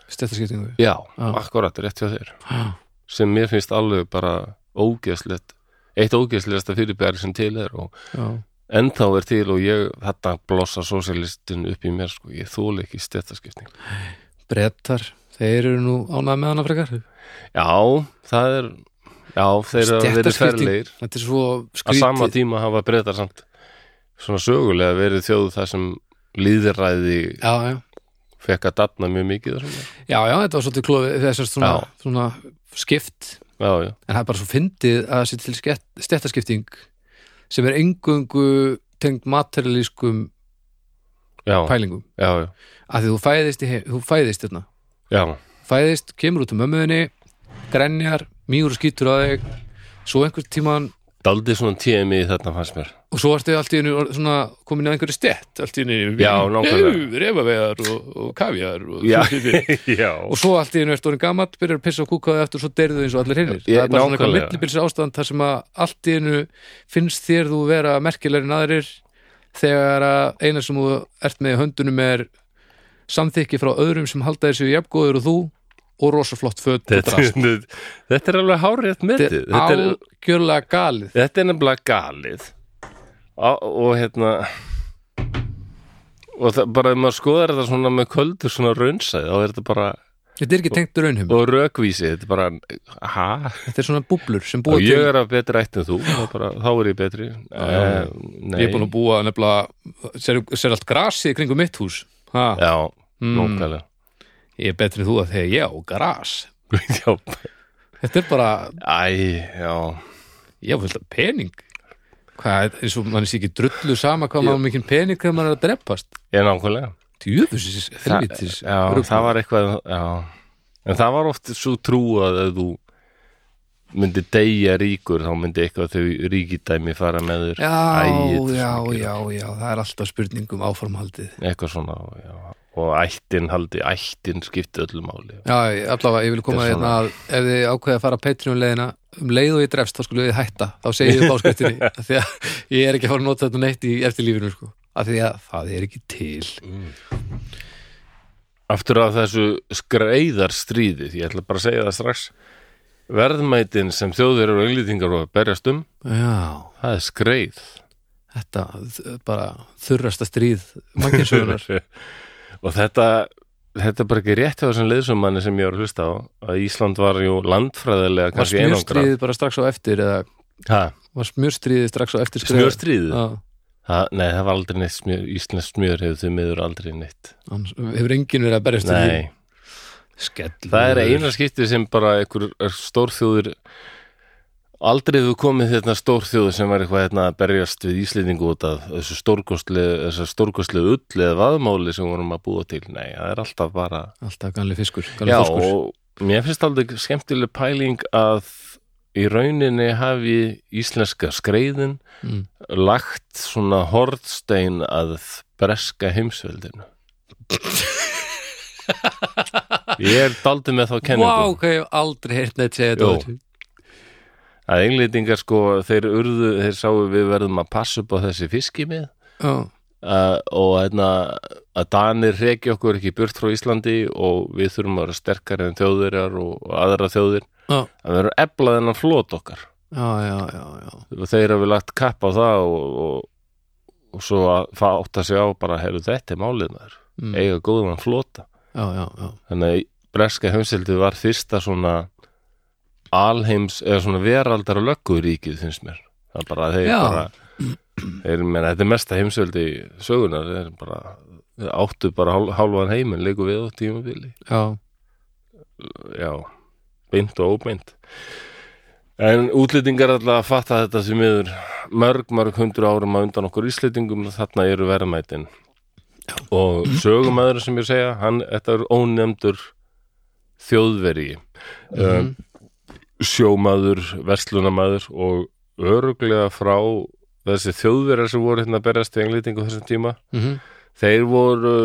stættaskiptingu já, Já. akkurat, rétt hjá þér Já, sem mér finnst alveg bara ógeðslegt eitt ógeðslegasta fyrirbæri sem til er og já, ennþá er til og ég, þetta blossa sósialistin upp í mér sko, ég þóla ekki stetaskipting. brettar Þeir eru nú ánægð með hana frekar Já, það er já, þeir eru að vera Stéttaskipting, ferlegir Þetta er svo á sama skrítið tíma hafa breytar samt svona sögulega verið þjóð það sem líðræði Já, já fekk að dafna mjög mikið og svona. Já, já, þetta var svolítið klófið þessar svona, Já. svona skipt Já, já, en það er bara svo fyndið að það sé til skett- stéttaskipting sem er engungu tengd materialískum já, pælingum já, já, af því þú fæðist, í he- þú fæðist hérna já, fæðist, kemur út um mömmuðinni grenjar, mýgur og skýtur á þig svo einhver tíman Daldið svona TMI þarna fannst mér og svo ertu allt í einu orð- svona komin að einhverju stett allt í einu Já, nákvæmlega. refavegar og, og kafjar og, Já, og já, svo allt í einu ertu orðin gamall byrjar að pissa og kúkaði eftir og svo deyrðu eins og allir hinnir Ég- það er bara svona eitthvað nákvæmlega. millibilsi ástand þar sem að allt í einu finnst þér þú vera merkilegri en aðrir þegar að eina sem þú ert með í höndunum er samþykki frá öðrum sem halda þessu jafngóður og þú og rosa flott föt og þetta, drast þetta er alveg hárétt metið þetta er algjörlega galið þetta er nefnilega galið Á, og hérna og það, bara ef maður skoðar þetta svona með köldu svona raunsæð og þetta bara, þetta er ekki tengt raunhum, og rökvísi þetta er bara, ha? þetta er svona búblur sem og búa til ég er af betri ætt en þú þá, bara, þá er ég betri já. eh, nei, ég er búin að búa nefnilega ser, ser allt grasið kringum mitt hús ha, já, Mm. nógulega ég er betri en þú að þegar ég á gras já, þetta er bara æ, já Já, fullt af pening Hvað, eins og mann sé ekki drullu sama hvað maður mikinn pening þegar maður er að dreppast ég nákvæmlega Djöfus, Þa- helvitis já, rugl. það var eitthvað já. en það var oft svo trú að ef þú myndi deyja ríkur þá myndi eitthvað þau ríkidæmi fara með þér já, Æ, já, já, já, það er alltaf spurningum áformhaldið eitthvað svona já. og ættin haldi, ættin skipti öllu máli Já, ég- allavega, ég vil koma Þetta er hérna að ef þið ákveðið að fara Patreon leiðina um leið og ég drefst, þá skulle við hætta þá segi ég upp áskriftinni, af því að ég er ekki að fara að nota þetta neitt í eftirlífinu sko. af því að það er ekki til Mm. aftur að þessu skreiðarstríði ég ætla bara að segja það strax verðmætin sem þjóðir og englýtingar og berjast um, Já, það er skreið þetta þ- bara þurrasta stríð mannkynnsögunar og þetta þetta er bara ekki rétt hjá þessum liðsumanni sem ég var að hlusta á að Ísland var jú landfræðilega Var kannski einangra smjörstríðið bara strax á eftir eða var smjörstríðið strax á eftir skrifað? smjörstríð Já, nei það var aldrei neitt smjör Íslands smjör hefur þau miður aldrei neitt hann hefur enginn verið að berjast við nei, því skell það er eina skipti sem bara einhver stórþjóður aldrei hefur komið þetta stórþjóður sem var eitthvað hérna að berjast við Íslendingu út af þessu stórkostlegu þessu stórkostlegu ull eða vaðmáli sem vorum að búa til, nei það er alltaf bara alltaf ganli fiskur, ganli Já, fiskur. og mér finnst aldrei skemmtileg pæling að í rauninni hafi íslenska skreiðin Mm. lagt svona hortstein að breska heimsveldinu. Ég er daldið með þá Vá, kenningu hvað ég hef aldrei heyrt neitt segja Jó. þetta áður. að englýtingar sko, þeir urðu, þeir sáu við verðum að passa upp á þessi fiskimið Já, uh, og hérna að Danir reki okkur ekki burt frá Íslandi og við þurfum að vera sterkari en þjóðurjar og, og aðra þjóðir Já. að vera eflað þennan flót okkar já, já, já, já. og þeir hafi lagt kapp á það og, og, og svo að fá átt að segja á bara heyrðu þetta er málið maður Mm. eiga góðan flóta já, já, já. þannig að breska heimseldi var fyrsta svona alheims eða svona veraldar og lögguríkið finnst mér það er bara þeir Já. bara þeir, menn, þetta er mesta heimseldi sögunar þeir bara þeir áttu bara hál, hálfan heiminn leiku við á tímabili já. já, beint og óbeint en útlýtingar alltaf að fatta þetta sem yfir mörg, mörg hundru árum á undan okkur íslýtingum þarna eru verðmætin og sögumæður sem ég segja hann, þetta er ónefndur þjóðveri um, sjómaður, verslunamaður og öruglega frá þessi þjóðverjar sem voru hérna að berjast í englýtingu þessum tíma Mm -hmm. þeir voru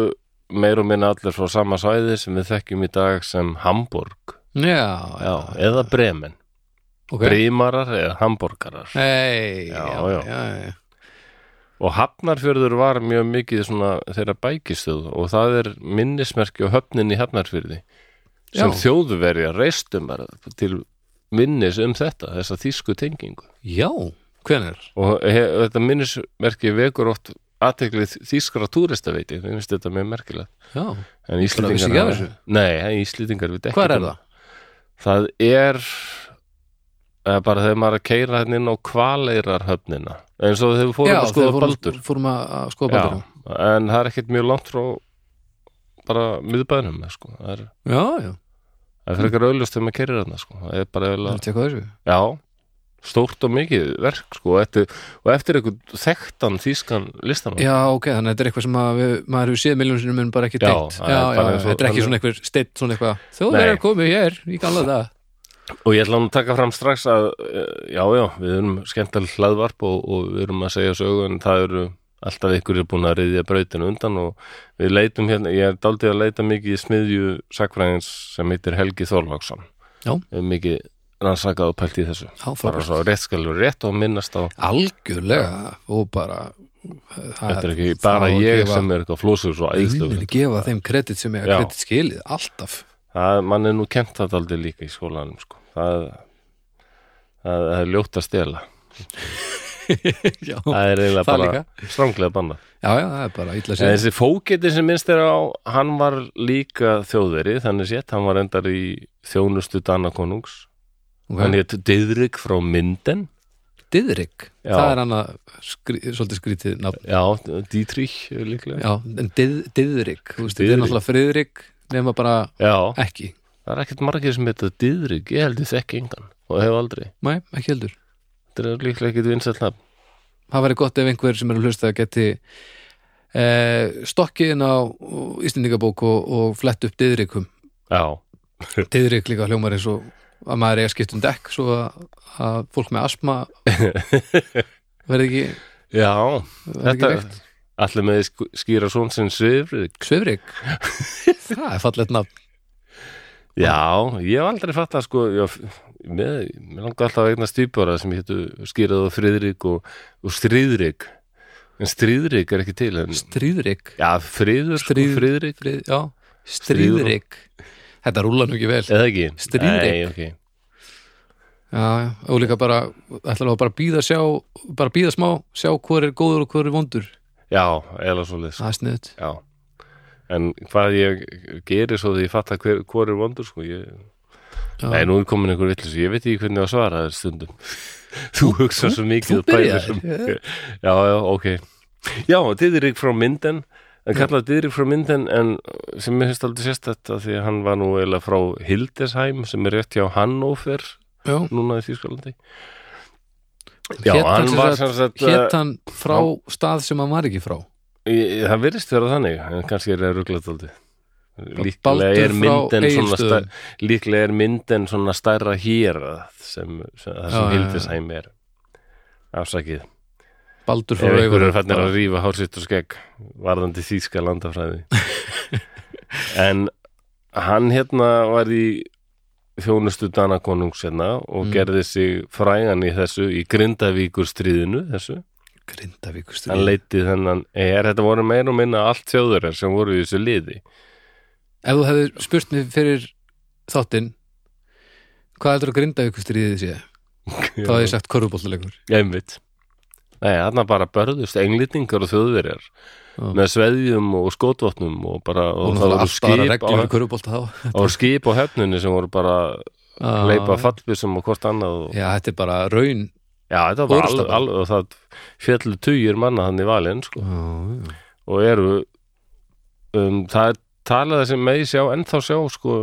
meir og minna allir frá sama svæði sem við þekkjum í dag sem Hamburg já, já, Já, eða bremen ok Brímarar eða hambúrgarar Nei, Já, já, já. já, já. Og Hafnarfjörður var mjög mikið svona þeirra bækistuð og það er minnismerki og höfnin í Hafnarfjörði sem Já. þjóðverja reistum bara til minnis um þetta, þessa þýsku tengingu já hvenær? og he, þetta minnismerki vekur oft aðteklið þýskra túristaveiti það finnst þetta mjög merkilegt Já. en vissi ekki af Íslendingar þessu? Nei, en Íslendingar við Hvar er það? Það er eða bara þegar maður er að keira hérna inn á kvaleirar höfnina eins og þegar við fórum já, að þegar skoða fórum- baldur fórum að að skoða Já, baldur en það er ekkert mjög langt frá bara miðbænum sko. það er, já, já, það er frekar auðljóst þegar maður keirir hérna sko. það er það bara er eiginlega, að tjekka á þessu já, stórt og mikið verk sko, og eftir, og eftir einhvern þekktan þýskan listamann Já, ok, þannig að þetta er eitthvað sem að við, maður hefur séð miljón sinum en bara ekki Já, tengt Já, það er já, bara eins og- þetta er ekki svona eitthvað steitt, svona eitthvað Þjóðverðar Nei. komu hér, ég galla það Og ég ætla nú að taka fram strax að eh, já, já, við erum skemmtileg hlaðvarp og, og við erum að segja sögu en það eru alltaf ykkur er búin að reyðja brautinu undan og við leitum hérna, ég er daldið að leita mikið í smiðju sakfræðins sem heitir Helgi Þorláksson Já. Ég hef mikið rannsakað og pælt í þessu Já, bara frábært. svo rétt skalur rétt og minnast á algjörlega og bara það þetta er ekki bara það á að ég gefa- sem er eitthvað flósur svo Ég vil æðslu ekki gefa þeim kredit sem ég Já. að kredit skilið, alltaf það, mann er nú kent það aldrei líka í skólanum sko. það, það, það er ljótt að stela já. það er eiginlega Það bara líka. stranglega banna já, já, það er bara illa en sér þessi fókiti sem minnst er á hann var líka þjóðveri þannig sétt, hann var endar í þjónustu Danakonungs hann okay. hétt Didrik frá Minden Didrik, Já. það er hann að skri, svolítið skrítið nafn já, Dietrich líklega já. já, en dið, Didrik, þú veist, þetta Diðrik. er náttúrulega Friðrik nema bara ekki það er ekkert margir sem heita Didrik ég held ég þekki engan og hef aldrei Nei, ekki heldur þetta er líklega ekkit vinsætt nafn það væri gott ef einhver sem er að hlusta geti eh, stokkiðin á Íslendingabók og, og flett upp Didrikum já, Didrik líka hljómar eins og að maður er að skipta um dekk svo að, að fólk með asma verði ekki, já verði ekki Þetta, veikt allir með sk- skýra svon sem Svifrik Svifrik Það er fallegt nafn Já, ég hef aldrei fatt að sko já, með, mér langar alltaf að eigna stýpjóra sem hétu skýrað og friðrik og, og stríðrik en stríðrik er ekki til en, Stríðrik Já, friður Stríð- og friðrik Frið, Já, stríðrik Þetta rúlar nú ekki vel Já, eða ekki? Stríðrik. Nei, ok. já, og líka bara ætlar að bara býða sjá bara býða smá, sjá hvor er góður og hvor er vondur Já, eða svo leið Það er sniðut Já En hvað ég gerir svo því ég fatt að hver, hver er vondur sko ég... Já. Nei, nú er komin einhver villis ég veit ekki hvernig ég á að svara þér stundum Þú hugsa svo mikið þú og pælir byrjaðir, svo mikið. Já, já, ok Já, Didrik frá Minden en kallaði Didrik frá Minden en sem mér finnst aldrei sérstætt að því að hann var nú eiginlega frá Hildesheim sem er rétt hjá Hannover Já, núna í Þýskalandi Já, hét hann hann sem var sagt- sem sagt eh, hét hann frá stað sem hann var ekki frá Ég- Það virðist vera þannig, en kannski er það rugglatóldi. Baldur Líklega er frá myndin svona stær, Egilsstöðum. líklega er myndin svona stærra hér sem, sem, það Já, sem já, Hildisheim er afsakið. Baldur Ef frá einhverju Raufarhöfn. fannir að rífa hársitt og skegg varðandi þýska landafræði. en hann hérna var í þjónustu Danakonungs hérna Mm. og gerði sig frægan í þessu, í Grindavíkur stríðinu þessu Grindavíkustur hann leiti þennan er, þetta voru meir og minna allt þjóðurar sem voru í þessu liði Ef þú hefði spurt mér fyrir þáttinn hvað heldur að Grindavíkustur í þessi þá hefði ég sagt korfubólluleikur einmitt Nei, þarna bara börðust englýtingar og þjóðverjar með sveðjum og skotvotnum og bara, og, og það náttúrulega alltaf aðra voru skip á, reglur í körfubólta þá það voru skip á hefnunni sem voru bara Ah. leipa fallbissum og hvort annað og, Já, þetta er bara raun já, þetta var Orrusta alveg, bara. alveg og það fjallu tugir manna hann í valinn sko, og eru um, það er talað sem megi sjá ennþá sjá sko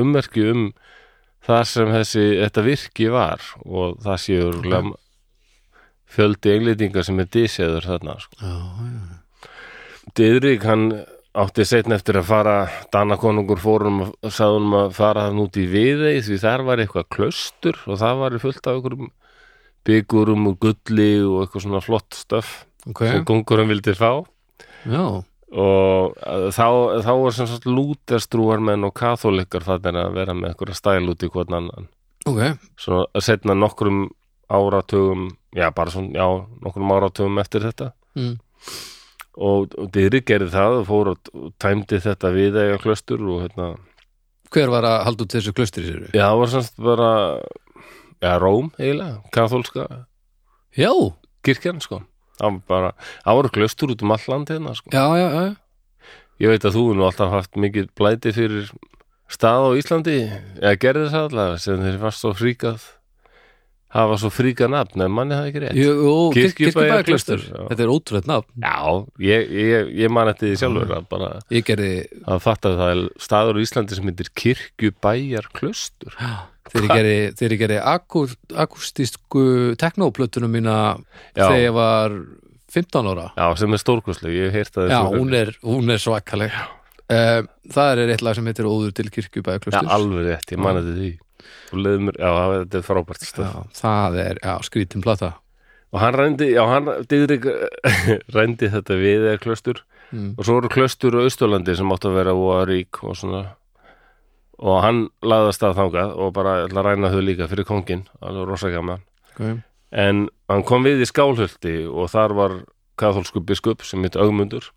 ummerki um þar sem þessi, þetta virki var og það séu okay. fjöldi englýtingar sem er dísæður þarna sko. Já, já. Didrik hann átti setna eftir að fara Danakonungur fórum og sagðum að fara þann út í viðeið því þar var eitthvað klaustur og það var fullt af einhverjum byggurum og gulli og eitthvað svona flott stöf Ok, sem kongurum vildi fá já og uh, þá, þá er sem sagt lúterstrúarmenn og katholikar þannig að vera með einhverja stæl út í hvern annan Ok, svo að setna nokkrum áratugum já, bara svona, já, nokkrum áratugum eftir þetta mm. og, og Dyri gerði það og fór og, og tæmdi þetta við eiga klöstur og hérna, hver var að halda út þessu klaustri sér? já, það var sem sagt bara já, Róm eiginlega, katholska Já, já, kirkjan, sko það var bara, það voru klöstur út um all land hérna, sko. já, já Ég veit að þú hefur nú alltaf haft mikið blæti fyrir stað á Íslandi eða gerði það allavega sem þeir varst svo fríkað hafa svo fríkað nafn en manni það ekki rétt Jú, jú, Kirkjubæjar- Kirkjubæjarklaustur Já. Þetta er ótrúlega nafn Já, ég, ég, ég man eftir því sjálfur að bara Ég gerði, að fatta að það er staður á Íslandi sem heitir kirkjubæjar klustur þegar ég gerði, þegar ég gerði akú- akústísku teknóplötunum mína Já. þegar ég var 15 ára Já, sem er stórkustleg, ég hef heyrt að Já, þessu hún er, hún er svakaleg um, Það er eitt lag sem heitir Óður til Já, kirkjubæjarklausturs alveg rétt, ég man eftir því Þú leiðir mér, já, þetta er frábært stöð. Já, það er, já, skrítin plata Og hann rændi, já, hann, Didrik rændi þetta við eða klöstur mm. og svo eru klöstur á Östurlandi sem áttu að vera óarík og svona og hann laðast að þangað og bara ætla að ræna þau líka fyrir kongin alveg rosa gaman okay. en hann kom við í Skálhöldi og þar var katholsku biskup sem heit Ögmundur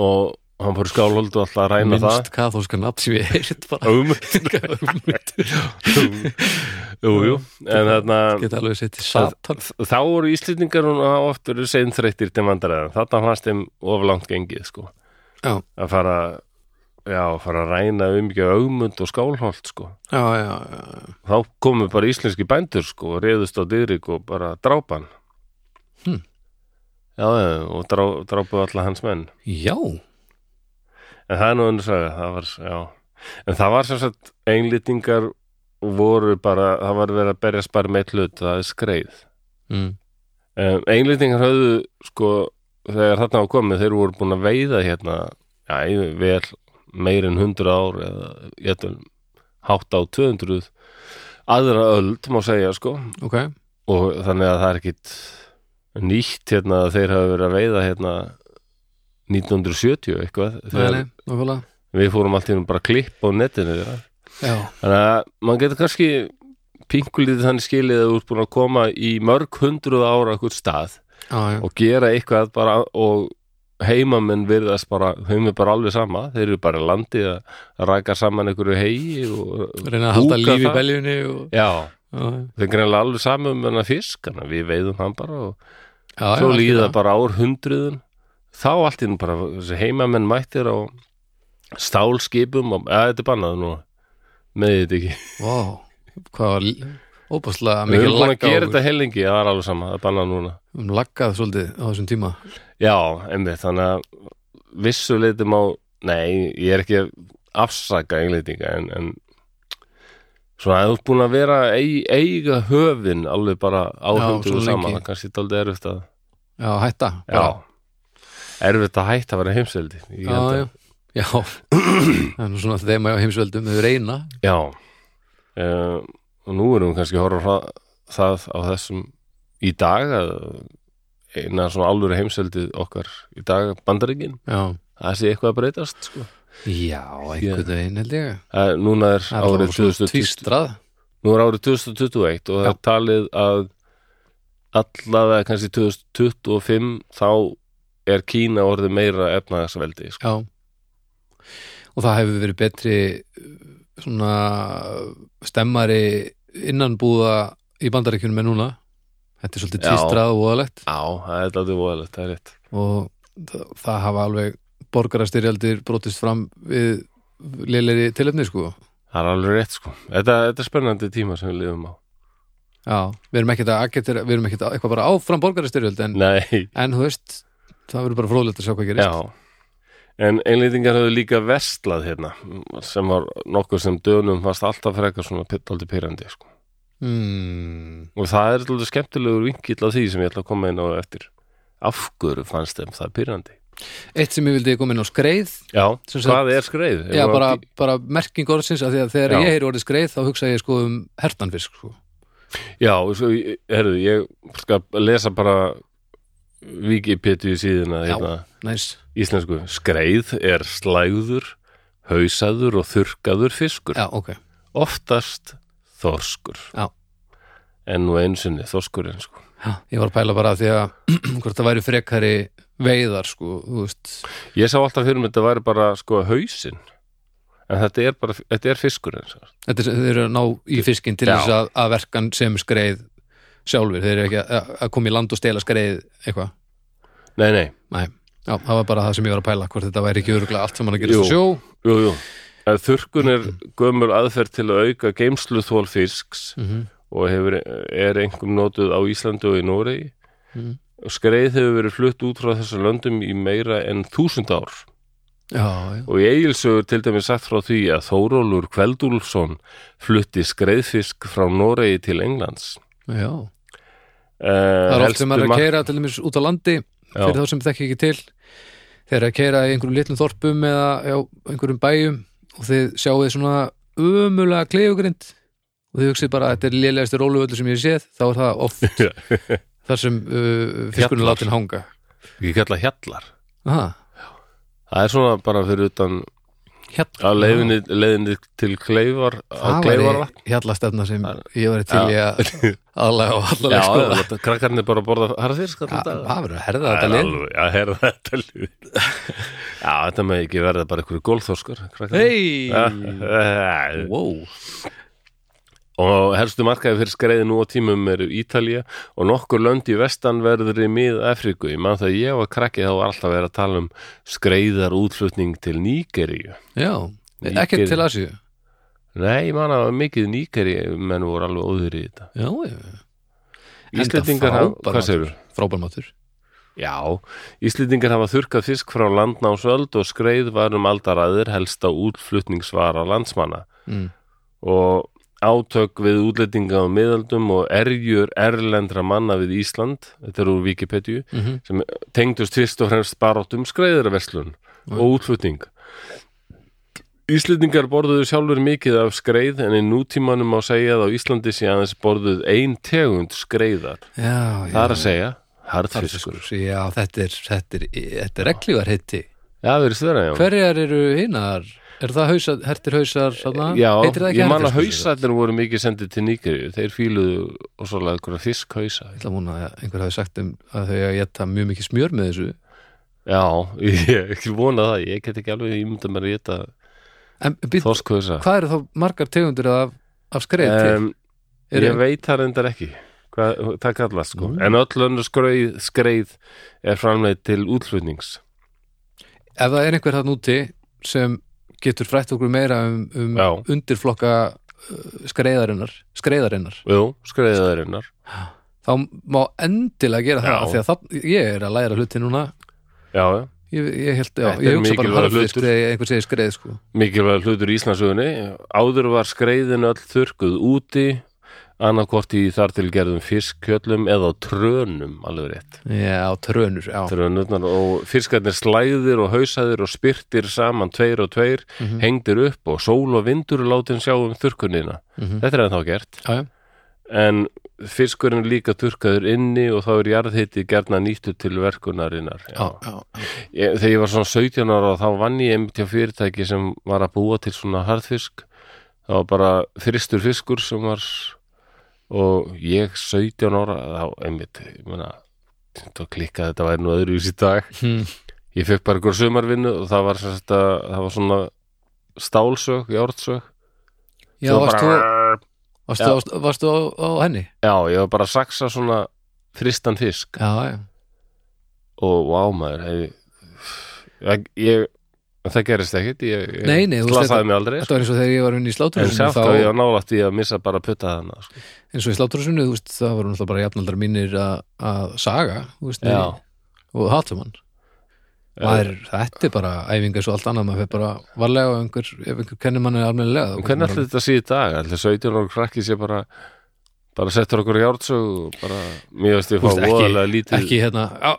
og hann fór í Skálhöldi og alltaf að ræna Minnst katholska nafn sem ég heirt það bara Ögmundur, jú, jú en þarna Geta alveg sett í satan þá voru Íslendingar hún á oft verið seinþreyttir til vandræðan þetta fannst þeim of langt gengið sko Já, að fara já, að fara að ræna um ekki augmund og skálholt sko já, já, já. þá komu bara íslenski bændur sko og reyðust á dyrik og bara drápan Hmm. já, já, og drá, drápu alla hans menn Já, en það er nú ennur saga það var, já en það var sem sagt, einlýtingar voru bara, það var verið að berjast bara með einn hlut, það er skreið mm. um, einlýtingar höfðu sko, þegar þarna var komið þeir voru búin að veiða hérna já, vel meir en 100 ár eða hérna hátt á 200 aðra öld má segja sko ok og þannig að það er ekkit nýtt hérna að þeir hafa verið að veiða hérna 1970 eitthvað Nei, þegar nei, nákvæmlega við fórum allt í hérna bara klipp á netinu þeirra Já, þannig að maður getur kannski pinkulítið þannig skilið að þú ert búin að koma í mörg hundruð ára eitthvað stað já, já, og gera eitthvað bara og heimamenn virðast bara þeim er bara alveg sama, þeir eru bara í landi að ræka saman einhverju hegi og reyna að halda Búka lífi í það. beljunni og, já, já, já, þeir greinlega alveg sama um hennar fisk, þannig að við veiðum hann bara og já, svo algjörlega. líða bara ár hundruðun þá allt inn bara þessi heimamenn mættir á stálskipum og eða þetta er bannað nú með þetta ekki Vá, hvað var óbáslega við mikið erum búin að lagga á gera okkur. þetta heilingi, það er alveg sama það er bannað núna Við höfum laggað svolítið á þessum tíma já, einmitt, þannig að vissu leitum á, nei, ég er ekki að afsaka einleitinga en, en svona að þú ert búin að vera eig, eiga höfin alveg bara á Já, hundruðu svo lengi. saman, það er kannski dálítið erfitt að Já, hætta já, erfitt að hætta að vera heimseldi já, já, já. Það er nú svona þeim að heimsveldum við reyna Já uh, og nú erum við kannski að horfa á það á þessum í dag að eina svona alvöru heimseldið okkar í dag bandaríkin, Já, það sé eitthvað að breytast sko. já einhvern veginn held ég uh, Núna er Það er árið alveg svona 2020 tvístrað Nú er árið 2021 og það er talið að allavega kannski 2025 þá er Kína orðið meira efnaðarsveldi sko. Já Og það hefur verið betri uh, svona stemmari innanbúða í bandaríkjunum en núna Þetta er svolítið Já. tvístrað og óðalegt Já, það er þetta voðalegt, það er rétt og það, það hafa alveg borgarastyrjaldir brotist fram við léleri tilefni sko Það er alveg rétt sko Þetta, þetta er spennandi tíma sem við lifum á Já, við erum ekkert að agetir, við erum ekkert að eitthvað bara áfram borgarastyrjöld en, Nei, en þú veist, það verður bara fróðlegt að sjá hvað gerist Já, en einlýtingar höfðu líka verslað hérna sem var nokkuð sem dönum fast alltaf frekar svona pittaldi pyrrandi sko. mm, og það er alltaf skemmtilegur vinkill að því sem ég ætla að koma inn á eftir af hverju fannst þeim það pyrrandi Eitt sem ég vildi koma inn á skreið Já, Sem sagt- hvað er skreið? Já, Erum við bara, að- bara merking orðsins að því að þegar Já. ég heyri orðið skreið þá hugsa ég sko um hertanfisk sko. Já svo, ég- heyrðu, ég skal lesa bara Wikipedia síðuna Já. hérna, Næs, íslensku Skreið er slæður, hausaður og þurrkaður fiskur já, ok oftast þorskur Já. en nú einu sinni þorskurinn sko. já, Ég var að pæla bara að því að hvort það væri frekari veiðar sko, þú veist ég sá alltaf fyrir mig þetta væri bara sko hausinn en þetta er bara, þetta er fiskurinn sko. Þetta er, þeir eru að ná í fiskinn til Já. þess að, að verkan sem skreið sjálfur, þeir eru ekki að, að koma í land og stela skreið eitthvað nei, nei, Nei, já, það var bara það sem ég var að pæla hvort þetta væri ekki öruglega allt sem hann að Jú. gerast á sjó jú, jú En þurrkun er gömul aðferð til að auka geimsluþól fisks mm -hmm. og hefur, er engum notuð á Íslandi og í Noregi Mm. Skreið hefur verið flutt út frá þessu löndum í meira en þúsund ár Já, já, og í eigilsögur til dæmis sagt frá því að Þórólur Kveldúlfsson flutti skreiðfisk frá Noregi til Englands. já Uh, Það er oft um sem maður er að keira til dæmis út á landi fyrir þá sem þekki ekki til þeir eru að keira í einhverjum litlum þorpum eða já, einhverjum bæjum og þið sjáuð svona ömulega klefugrind og og þið hugsið bara að þetta er lélegastur róluvöldu sem ég hef séð þá er það oft þar sem uh, fiskurinn er Hjallar. látin hanga Ég kalla hjallar Aha, Það er svona bara fyrir utan hjall, að leiðinni, leiðinni til kleifar á það kleifar væri hjallastefna sem ég var til í að aðlega og Já, allalega skoða þetta- krakkarnir bara borða harðfisk allan Það dag. verður að herða Það þetta lið er alveg, já, herra þetta lið Já, þetta með ekki verða bara einhverju gólþórskar Hei, wow eh, Og helstu markaði fyrir skreiði nú á tímum eru Ítalía og nokkur lönd í vestanverðri mið-Afriku. Ég man það að ég var krakkið þá var alltaf verið að tala um skreiðar útflutning til Nígeríu. Já, ekki Nígeríu. til Asíu Nei, ég man að mikið Nígeríu menn voru alveg óður í þetta. Já, já, Enda Íslendingar hafa, frábær hvað matur. segir frábær matur Já, Íslendingar hafa þurkað fisk frá landnámsöld og skreið var um aldaræðir helsta útflutningsvara landsmanna mm. og átök við útlendinga á miðaldum og erjur erlendra manna við Ísland, þetta er úr Wikipedia, Mm sem tengdust fyrst og fremst baráttum skreiðarverslun og útflutning. Íslendingar borðuðu sjálfur mikið af skreið en í nútímanum má segja að á Íslandi sé aðeins borðuð ein tegund skreiðar. Já, já Það er að segja harðfiskur. Já, þetta er, þetta er, þetta er reglívar hitti Já, það verið stöðra, já. Hverjar eru hinnar? Er það hausar, hertir hausar svona? Já, Heitir það ekki ég man að hertir, sko? hausarnir voru mikið sendið til Nígeríu þeir fíluðu og svolega einhverja fisk hausa Ég ætla að múna að einhver hafi sagt um að þau að geta mjög mikið smjör með þessu Já, ég ekki vona það ég get ekki alveg ímynda mér að geta En býtt, þorsk hausa hvað eru þá margar tegundir af, af skreið til? um, Eru- Ég veit það reyndar ekki hvað það Mm. kallast sko en öll önnur skreið, skreið er framleið til útflutnings Ef það er einhver það núti sem getur frætt okkur meira um, um Já. undirflokka uh, skreiðarinnar, skreiðarinnar Jú, skreiðarinnar þá má endilega gera Já. það af því að það, ég er að læra hluti núna Já, já ég, ég held, já, Þetta ég hugsa bara er um mikilvægur harfisk hlutur. þegar einhver segir skreið sko. mikilvæg hlutur í Íslandsugunni áður var skreiðin öll þurrkuð úti annarkvort í þar til gerðum fiskkjöllum eða á trönum alveg rétt já, trönur, já, Trönurnar og fiskarnir slæðir og hausaðir og spyrtir saman tveir og tveir, hengdir upp og sól og vindur látin sjá um þurkunina. Mhm. Þetta er ennþá gert. já, já. En fiskurinn er líka þurkaður inni og þá er jarðhiti gerna nýttu til verkunarinnar. Já, já. Ég, þegar ég var svona 17 ára þá vann ég einmitt hjá fyrirtæki sem var að búa til svona harðfisk. Það var bara þristur fiskur sem var og ég 17 ára þá einmitt, ég meina, þá klikkaði þetta væri nú öðruvísi í dag Hm. ég fekk bara einhver sumarvinnu og það var, sem sagt að, það var svona stálsög, járnsög já Svo varstu, bara, varstu, varstu, varstu á, á henni já, ég var bara að saksa svona fristan fisk já, já, og vá maður hef, ég, ég það gerist ekkit ég, ég Nei, nei, þú veist, slasaði mig aldrei sko. þetta var eins og þegar ég var inn í en sláturhúsinu sátt þá, að ég var nálægt í að missa bara að putta þarna sko. eins og í sláturhúsinu, þú veist, það voru náttúrulega bara jafnaldra mínir að- að saga, þú veist, já, niðri. og hátum hann Eh, Maður, þetta er bara æfinga svo allt annað maður fyrir bara varlega og einhver, ef einhver kennir manni almennilega en hvernig ætli þetta sé í dag ætli 17 ára krakki sé bara bara settur okkur járnsög og bara, mér veist ég fá Þú veist, ekki- voðalega lítið ekki hérna, á,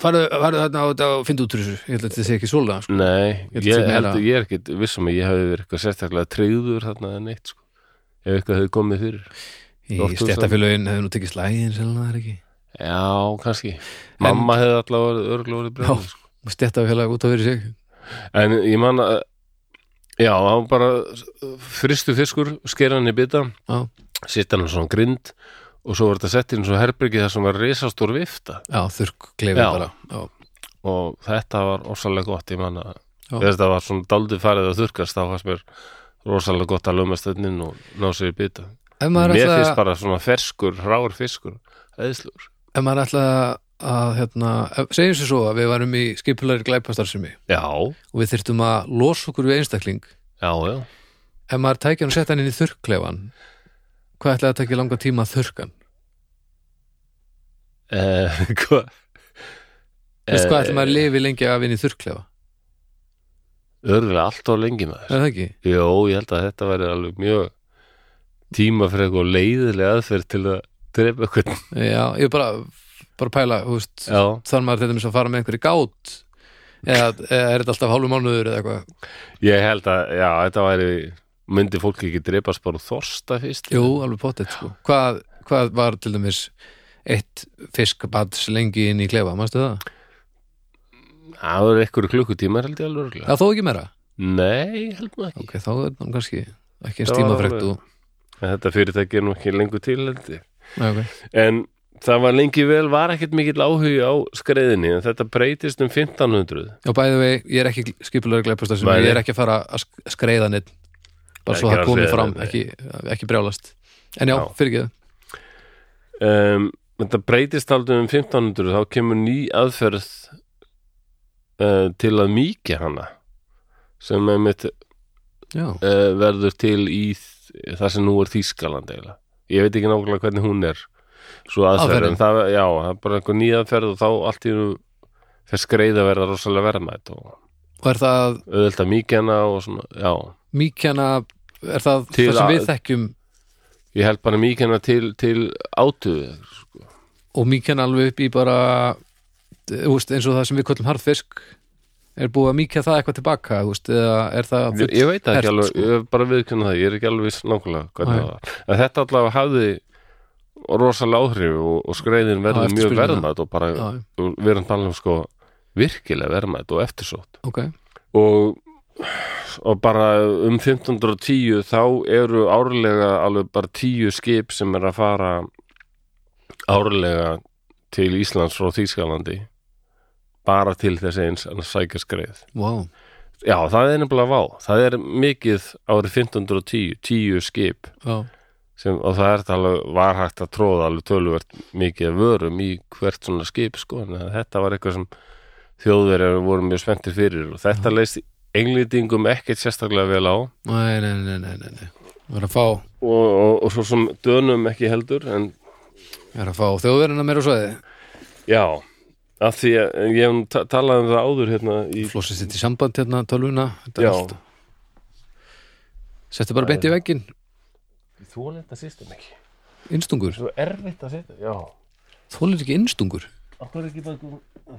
farðu, farðu þarna á þetta og fyndu út úr þessu, ég held að þetta sé ekki svolega sko. Nei, Ég ég, held sem held meira- að ég er ekki vissum að ég hefði verið eitthvað sérstaklega treyður þarna en eitt sko. ef eitthvað hefði komið fyrir í Lofthús- stjættafélögin hefur nú tekið slægin sem það er ekki, Já, kannski Mamma hefði allavega örglu orðið brjóð sko. stjættafélag út af fyrir sig En ég man að Já, það var bara fristu fiskur, skera hann í bita Já. Sitta hann á svona grind og svo var þetta sett inn svo herbyrgi þar sem var risastór vifta já, þurrk kleifir Já. bara já, og þetta var orsalega gott ég man að Já. þegar þetta var svona daldið farið að þurrkast þá fannst mér rosalega gott að lögma stöðnin og ná sér í bita ef Mér maður finnst ætla bara svona ferskur, ráur fiskur æðislur. ef maður ætla að hérna, ef- segjum sér svo að við varum í skipulari glæpastarsimi Já, og við þyrftum að losa okkur við einstakling já, já ef maður tækja hann og setja hann inn í þurrklefan hvað ætlaði að tekja langa tíma að þurrkan eh, hva, Veistu hvað ætlaði Eh, maður að lifi lengi af inn í þurrklefa Örgulega allt á lengi er maður það ekki? Jó, ég held að þetta væri alveg mjög tíma fyrir eitthvað leiðilega aðferð til að drepa eitthvað Já, ég er bara, bara að pæla þú veist, Já, þar maður til dæmis að fara með einhverju gát eða, eða er þetta alltaf hálfu mánuður eða eitthvað ég held að, já, þetta væri myndi fólk ekki drepast bara úr þorsta fyrst Jú, alveg pottet sko. hvað, hvað var til dæmis eitt fiskbads lengi inn í klefa, mástu það? það voru einhverju klukkutímar held ég alveg örugglega. Já, þó ekki meira nei, held maður ekki Ok, þá er það kannski ekki eins Það var tímafrekt alveg- og... En þetta fyrirtæki er nú ekki lengur til held ég Nei, ok. en það var lengi vel var ekkert mikill áhugi á skreiðinni en þetta breytist um 1500 Og bæðið vei, ég er ekki skipulega glæpast þessum, Nei, nei. ég er ekki að fara að sk- skreiða neitt bara Nei, svo ekki það að komið segja fram, neitt, ekki, ekki brjálast En já, Já. fyrir ekki það um, þetta breytist aldrei um 1500 þá kemur ný aðferð uh, til að mýkja hana sem er mitt Já, uh, verður til í þ- það sem nú er Þýskaland eiginlega ég veit ekki nákvæmlega hvernig hún er svo aðferð, Aðferðin. en það, já, það er bara einhver nýja aðferð og þá allt í nú þess skreiða verða rosalega verðmætt og og er það auðvitað mýkjana og svona, já mýkjana er það Til það sem við að- þekkjum ég held bara mýkjana til, til átuðu og mýkjana alveg upp í bara þú veist, eins og það sem við kollum harðfisk er búið að mýkja það eitthvað tilbaka þú veist, eða er það ég, ég veit það ekki hert, alveg, sko. ég hef bara viðkjönda það ég er ekki alveg viss nákvæmlega hvernig Nei. það var en þetta allavega hafði rosalega áhrif og, og skreiðin verður mjög eftirspurnina. verðmætt og bara, Já, og við erum talað um sko virkilega verðmætt og eftirsótt ok, og, og bara um 1510 þá eru árlega alveg bara tíu skip sem er að fara árlega til Íslands frá Þýskalandi bara til þess eins að sækja skreið wow Já, það er nefnilega vá. Það er mikið árið 1510, tíu skip já, sem, og það er þetta alveg, var hægt að tróða alveg töluvert mikið af vörum í hvert svona skip, sko, en þetta var eitthvað sem þjóðverjar voru mjög spenntir fyrir og þetta leist englýtingum ekkert sérstaklega vel á og, nei, nei, nei, nei, nei, nei. Var að fá, og, og svo sem dönum ekki heldur, en var að fá þjóðverðina meira og svoði já, af því að en ég hef nú ta- talað um það áður hérna í, flossið sitt í samband hérna tölvuna þetta er já, allt settu bara beint í veggin, þú er þetta sýstum ekki, innstungur svo erfitt að sýstum, já. þólir ekki innstungur Akkur er ekki bara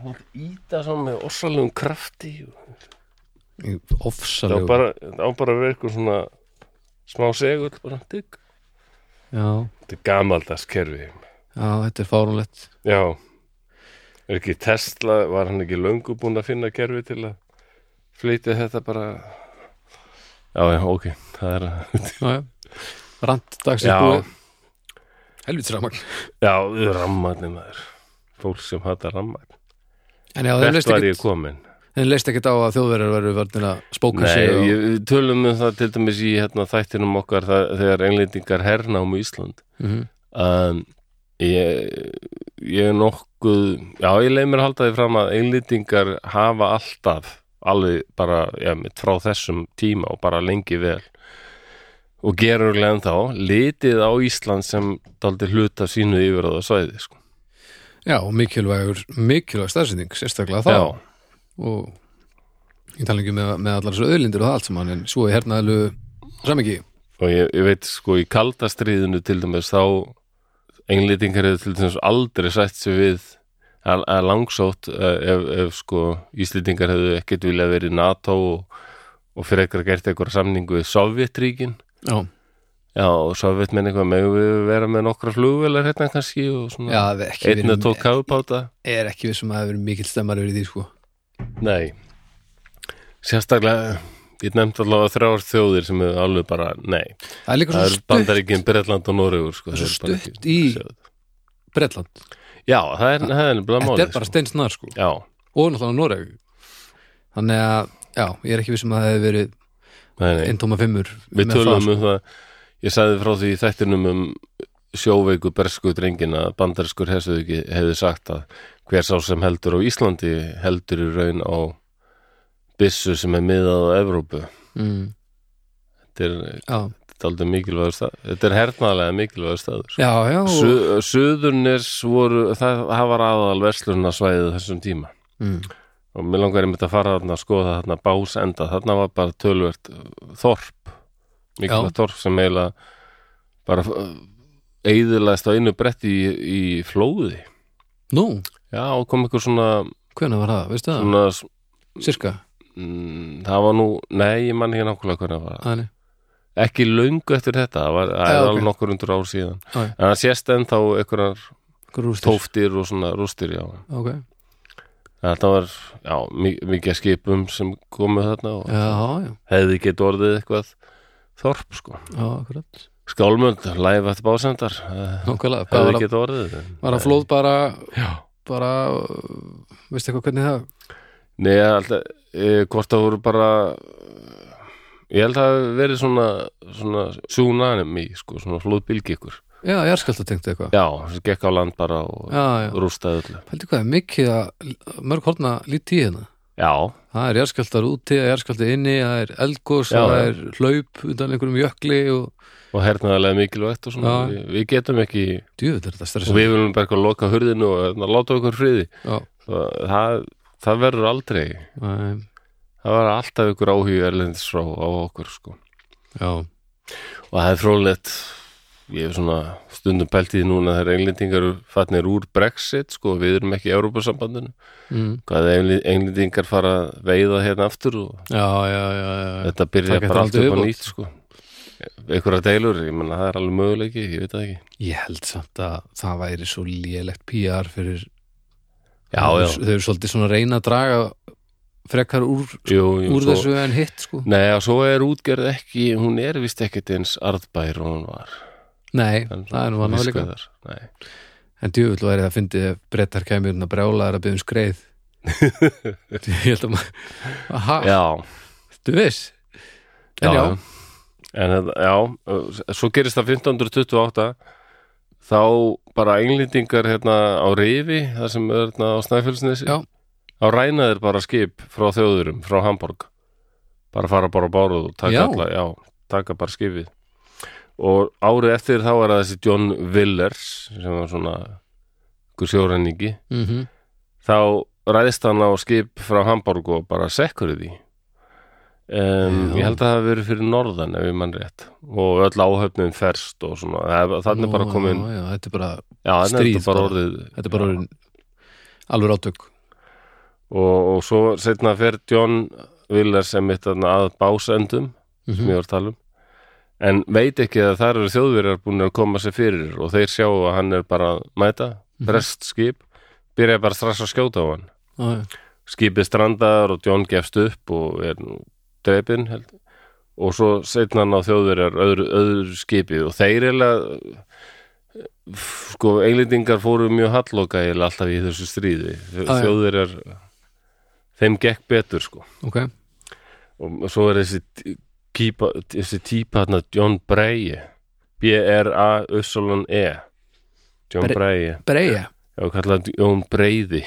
hún íta svona með orsalegum krafti Það á ofsalegu bara, það á bara að vera eitthvað svona smá segull bara, digg. já, Þetta er gamaldags kerfi já, þetta er fárunlegt Já Er ekki Tesla, var hann ekki löngu búinn að finna kerfi til að flytja þetta bara Já, já, ok Það er rand dagsins Já. búið helvits ramagn Já, rammarni maður Fólk sem hata rammarn en já, þeim Hvert leist var ég ekkit, komin? þeim leist ekkit á að þjóðverðar verður verðin að spóka Nei, sig og, ég, við tölum um það til dæmis í hérna, þættinum okkar það, þegar englendingar hernámu Ísland Mhm. um, ég, ég er nokkuð já, ég leið mér að halda því fram að einlýtingar hafa alltaf alveg bara, já, mitt frá þessum tíma og bara lengi vel og gerur len þá litið á Ísland sem daldi hluta sínu yfir á það svæði sko. já, og mikilvægur mikilvæg starfsending, sérstaklega þá já, og ég tala ekki með, með allar þessu öðlindir og það allt saman en svo er hernaðlu samingi og ég, ég veit sko í kaldastriðinu til dæmis þá englýtingar hefur til dæmis aldrei sætt sig við að að langsótt eh, ef, ef sko Íslendingar hefðu ekkert viljað verið í NATO og, og fyrir eitthvað gert eitthvað samningu við Sovjetríkin já, já og Sovjet menn eitthvað megum við vera með nokkra flugvelar hérna kannski og já svona það er ekki einn að tók kafubáta er ekki vissum að það verið mikill stemmar verið því sko nei sérstaklega ég nefndi allavega þrjár þjóðir sem hefur alveg bara nei, það er líka það svo eru stutt Bandaríkin, Bretland og Noregur sko, Það er svo þeir bara stutt ekki- í- Bretland, Já, það er, það er nefnilega þetta málið er bara sko. steinsnar sko Já, og náttúrulega Noreg þannig að, já, ég er ekki vissum að það hefði verið nei, nei, 1,5 við með tölum það, sko. um það Ég sagði frá því í þættinum um sjóveiku bersku drengin að bandariskur hersuðuki hefði sagt að hver sá sem heldur á Íslandi heldur í raun á byssu sem er miðað á Evrópu sko. mm, Þetta er, já, þetta er aldrei mikilvægur stað Þetta er hernaðlega mikilvægur staður sko. já, já Su, Suðurnes voru, það, það var aðal verslunarsvæðið þessum tíma mm, og mér langar einmitt að fara þarna að skoða þarna básenda, þarna var bara tölvert uh, þorp mikilvægt þorp sem eiginlega bara eigðilegst á einu bretti í, í flóði nú, já og kom einhver svona, hvenær var það, veistu það svona cirka, mm, það var nú, nei ég man ekki nákvæmlega hvernig það var aðni ekki löngu eftir þetta, það var það Já, er ok. alveg nokkur undur ár síðan Já, já. en það sést ennþá einhverjar Einhver rústir. tóftir og svona rústir já. Ok. þetta var já, mi- mikið af skipum sem komu þarna og Já, já, hefði gett orðið eitthvað þorp sko já, akkurat Skálmönd, live at básendar eh, Nókvælega, hvað var hefði að, gett orðið en- var að flóð bara já bara, uh, veistu eitthvað hvernig það Nei, ég held að, e, hvort það voru bara eh, ég held að það hafi verið svona svona tsunami, sko, svona flóðbylgi ykkur. Já, ég er skalt að tengta eitthvað Já, sem gekk á land bara og Já, já, rústaði öllu. heldur hvað, er mikið að mörg horna lítið í hérna Já, Það er jarðskjaldar úti, það er jarðskjaldar inni, það er eldgós, Já, það já. er hlaup undan einhverjum jökli og og hernaðarlega mikilvægt og svona, Já. við, við getum ekki djöfull er þetta og stressað. við viljum bara eitthvað loka hurðinu og hérna, láta okkur friði. Já, Það, það, það verður aldrei næ, það var alltaf ykkur áhugju erlendis frá á okkur, sko. já, og það er frólægt ég hef svona stundum pælt í því núna þegar englendingar eru fatnir úr Brexit sko, við erum ekki í Európa-sambandinu mm, hvað ef Engl- englendingar fara að veiða hérna aftur og já, já, já, já, þetta byrja Það getur bara allt aldrei upp á viðbót. nýtt sko. einhverja deilur, ég menna það er alveg möguleiki ég veit það ekki Ég held samt að það væri svo lélegt PR fyrir Já, já. Þau eru svolítið svona að reyna að draga frekar úr, jú, jú, úr svo, þessu en hitt, sko Nei, og svo er útgerð ekki, hún er vist ekkert eins arðbær og hún var Nei, En- það er nú að náleika Fiskveiðar, Nei, En djöfull væri það fyndið ef brettar kæmur að brjála er að byggja um skreið Ég held að maður Aha, já þú veist En já, En þetta, já, uh, svo gerist það 1528 þá bara englendingar hérna á Rifi, það sem er hérna á Snæfellsnesi Já. á rænaðir bara skip frá þjóðurum, frá Hamburg bara fara bara á báruð og taka Já. alla, já, taka bara skipið og árið eftir þá er það þessi John Willers sem var svona ykkur sjóræningi mhm þá ræðist hann á skip frá Hamburg og bara sekkur því um, Já. ég held að það hafi verið fyrir norðan ef ég mann rétt og öll áhöfnum ferst og svona Það- þannig er bara Já, komin já, já, þetta er bara, já, þannig er stríð þetta bara bara. orðið þetta er bara orðin alveg átök og, og svo setna fer John Willers sem mitt að básendum sem Mhm. ég var að tala um en veit ekki að þar eru þjóðverjar búin að koma sér fyrir og þeir sjá að hann er bara að mæta, Mhm. brest skip byrja bara strax að skjóta á hann Já, já. skipið strandar og John gefst upp og er nú drepin held. og svo setna hann á þjóðverjar öðru, öðru skipið og þeir eiginlega sko, englendingar fóru mjög halloka eiginlega alltaf í þessu stríði Já, já. þjóðverjar þeim gekk betur sko ok og svo er þessi t- kýpa, þessi típa hann John Breye B-R-A-U-S-O-L-E E. John Bre- Breye Breja, já, kallaði John Breiði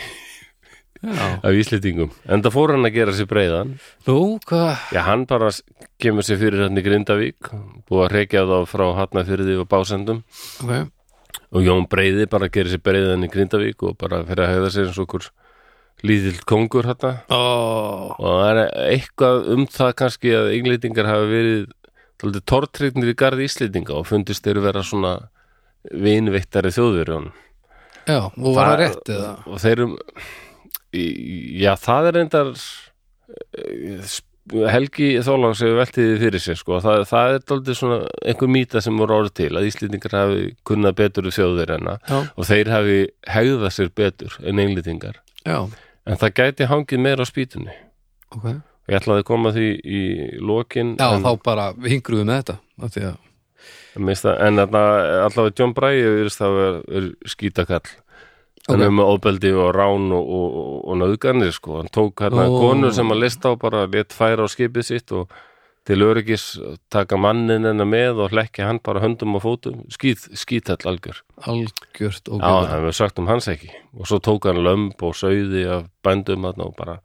já, af Íslendingum en það fór hann að gera sér breiðan nú, hvað Já, hann bara s- kemur sér fyrir hann í Grindavík, búið að reykja þá frá Hafnafyrði og Básendum ok, og Jón Breiði bara gerir sér breiðan hérna í Grindavík og bara fyrir að hefða sér eins og okkur lítill kongur hann ó og það er eitthvað um það kannski að englendingar hafi verið tóldi tortrygnir í garð Íslendinga og fundist þeir vera svona vinveittari þjóðverjón já, og var Það- það rétt eða og þeir um í- já, það er reyndar eh, sp- Helgi Þólangs hefur veltið því fyrir sér sko. það, það er daldið svona einhver mýta sem voru árið til að Íslendingar hafi kunnað betur í þjóðir hennar já, og þeir hafi hegðað sér betur en englendingar já, en það gæti hangið meira á spýtunni ok já, ég ætlaði að koma því í lokin en, þá bara hingruðu með þetta af því að, mista, en þarna, allavega John Bræði virðist það er, er skítakall hann er með óbeldi og rán og, og, og, og nöðganir sko, hann tók hérna Ó. konur sem að lista á bara létt færa á skipið sitt og til öryggis taka mannin hennar með og hlekki hann bara höndum og fótum skýt, skítall algjör algjört og Já, það hefur sagt um hans ekki og svo tók hann lömb og sauði af bændum hann og bara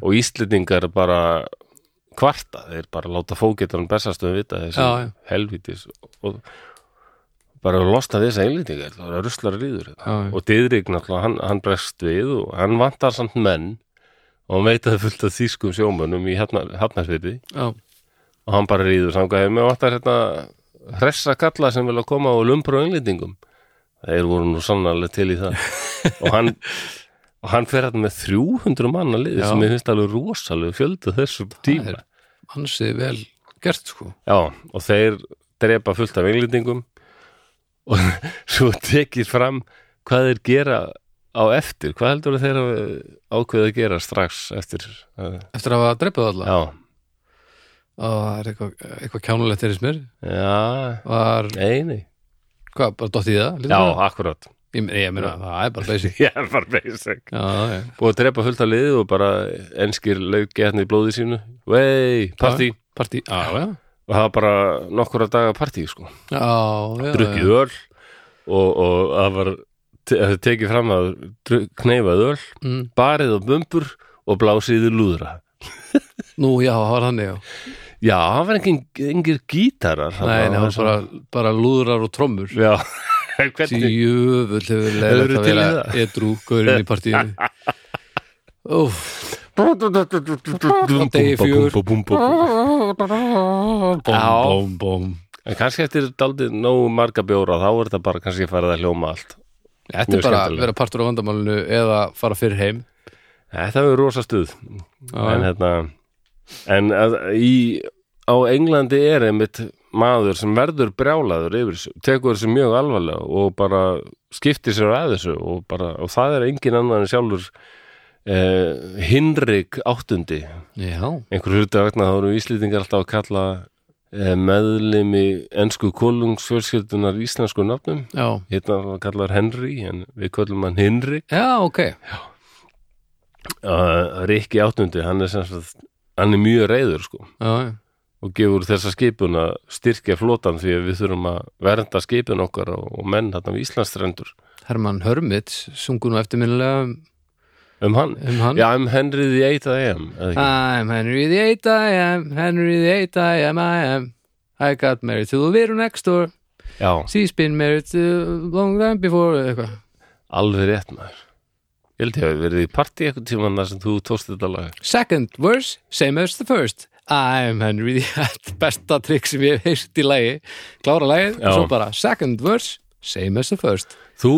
og Íslendingar bara kvarta, þeir bara láta fógetan bestastum vita þessi Já, já. helvítis og bara losna við þessa englendingar, það er ruslar líður þetta Já, já. og Didrik náttúrulega, hann, hann bregst við og hann vantar samt menn og hann veit að það er fullt af þýskum sjómönnum í hafnar, hafnarsviti já, og hann bara ríður samkvæði með vantar hérna hressa kalla sem vilja koma og lumbra á englendingum þeir voru nú sannarlega til í það og hann og hann fer hérna með 300 manna liði Já. sem ég finnst alveg rosalega fjöldu þessum tíma er- hansi vel gert sko Já, og þeir drepa fullt af englendingum og svo tekir fram hvað þeir gera á eftir hvað heldur þeir ákveða að gera strax eftir að, eftir að hafa dreipað alla já, og það er eitthvað, eitthvað kjánulegt erist mér já, var, nei, nei hvað, bara dottið í það? já, akkurát, Ég, meina- ég meina, það er bara basic ég er bara basic Já, já, búið að drepa fullt af liðið og bara enskir lauk getni í blóði sínu vei, partí partí, já, já og það var bara nokkura daga partí sko. Já, já, já drukkið öl og, og það var te það tekið fram að druk- kneyfað öl Mm. barið á bumbur og blásið í lúðra Nú, já, það var þannig, já já, það var engin, engir gítarar Nei, nei, það var bara, bara lúðrar og trommur já, hvernig Jöfull hefur leiðilegt Hefurðu að til í vera það? edru gaurinn í partíinu Úff, degi fjögur. Já. bóm, bóm en kannski eftir daldið nógu marga bjóra þá er þetta bara kannski farið að hljóma allt Þetta Mjög er bara að skemmtilegt. vera partur á vandamálinu eða fara fyrr heim þetta er rosa stuð en já. hérna en að, í, á Englandi er einmitt maður sem verður brjálaður yfir þessu, tekur þessu mjög alvarlega og bara skiptir sér að þessu og, bara, og það er engin annan en sjálfur eh, Hinrik áttundi já, einhver hluti vegna þá eru Íslendingar alltaf að kalla eh, meðlimi ensku kolungsfjölskyldunar íslensku nafnum já, hérna kallar Henry en við köllum hann Hinrik já, ok uh, Rikki áttundi, hann er sem sagt hann er mjög reyður sko já, já. og gefur þessa skipun að styrkja flotan því að við þurfum að vernda skipun okkar og, og menn þarna við Íslandstrendur Herman Hörmits sungu nú eftirminnilega um- um hann, um hann já um Henry the 8 AM eða ekki, I'm Henry the 8 I am Henry the 8 I am I am I got married to the Veru next door já, She's been married to long time before eða eitthvað alveg rétt maður ég held ég að við verið í partí eitthvað tíma þar sem þú tókst þetta lag Second verse, same as the first I'm Henry the 8 Besta trikk sem ég hef heyrt í lagi Klára lagið Já. og svo bara Second verse, same as the first þú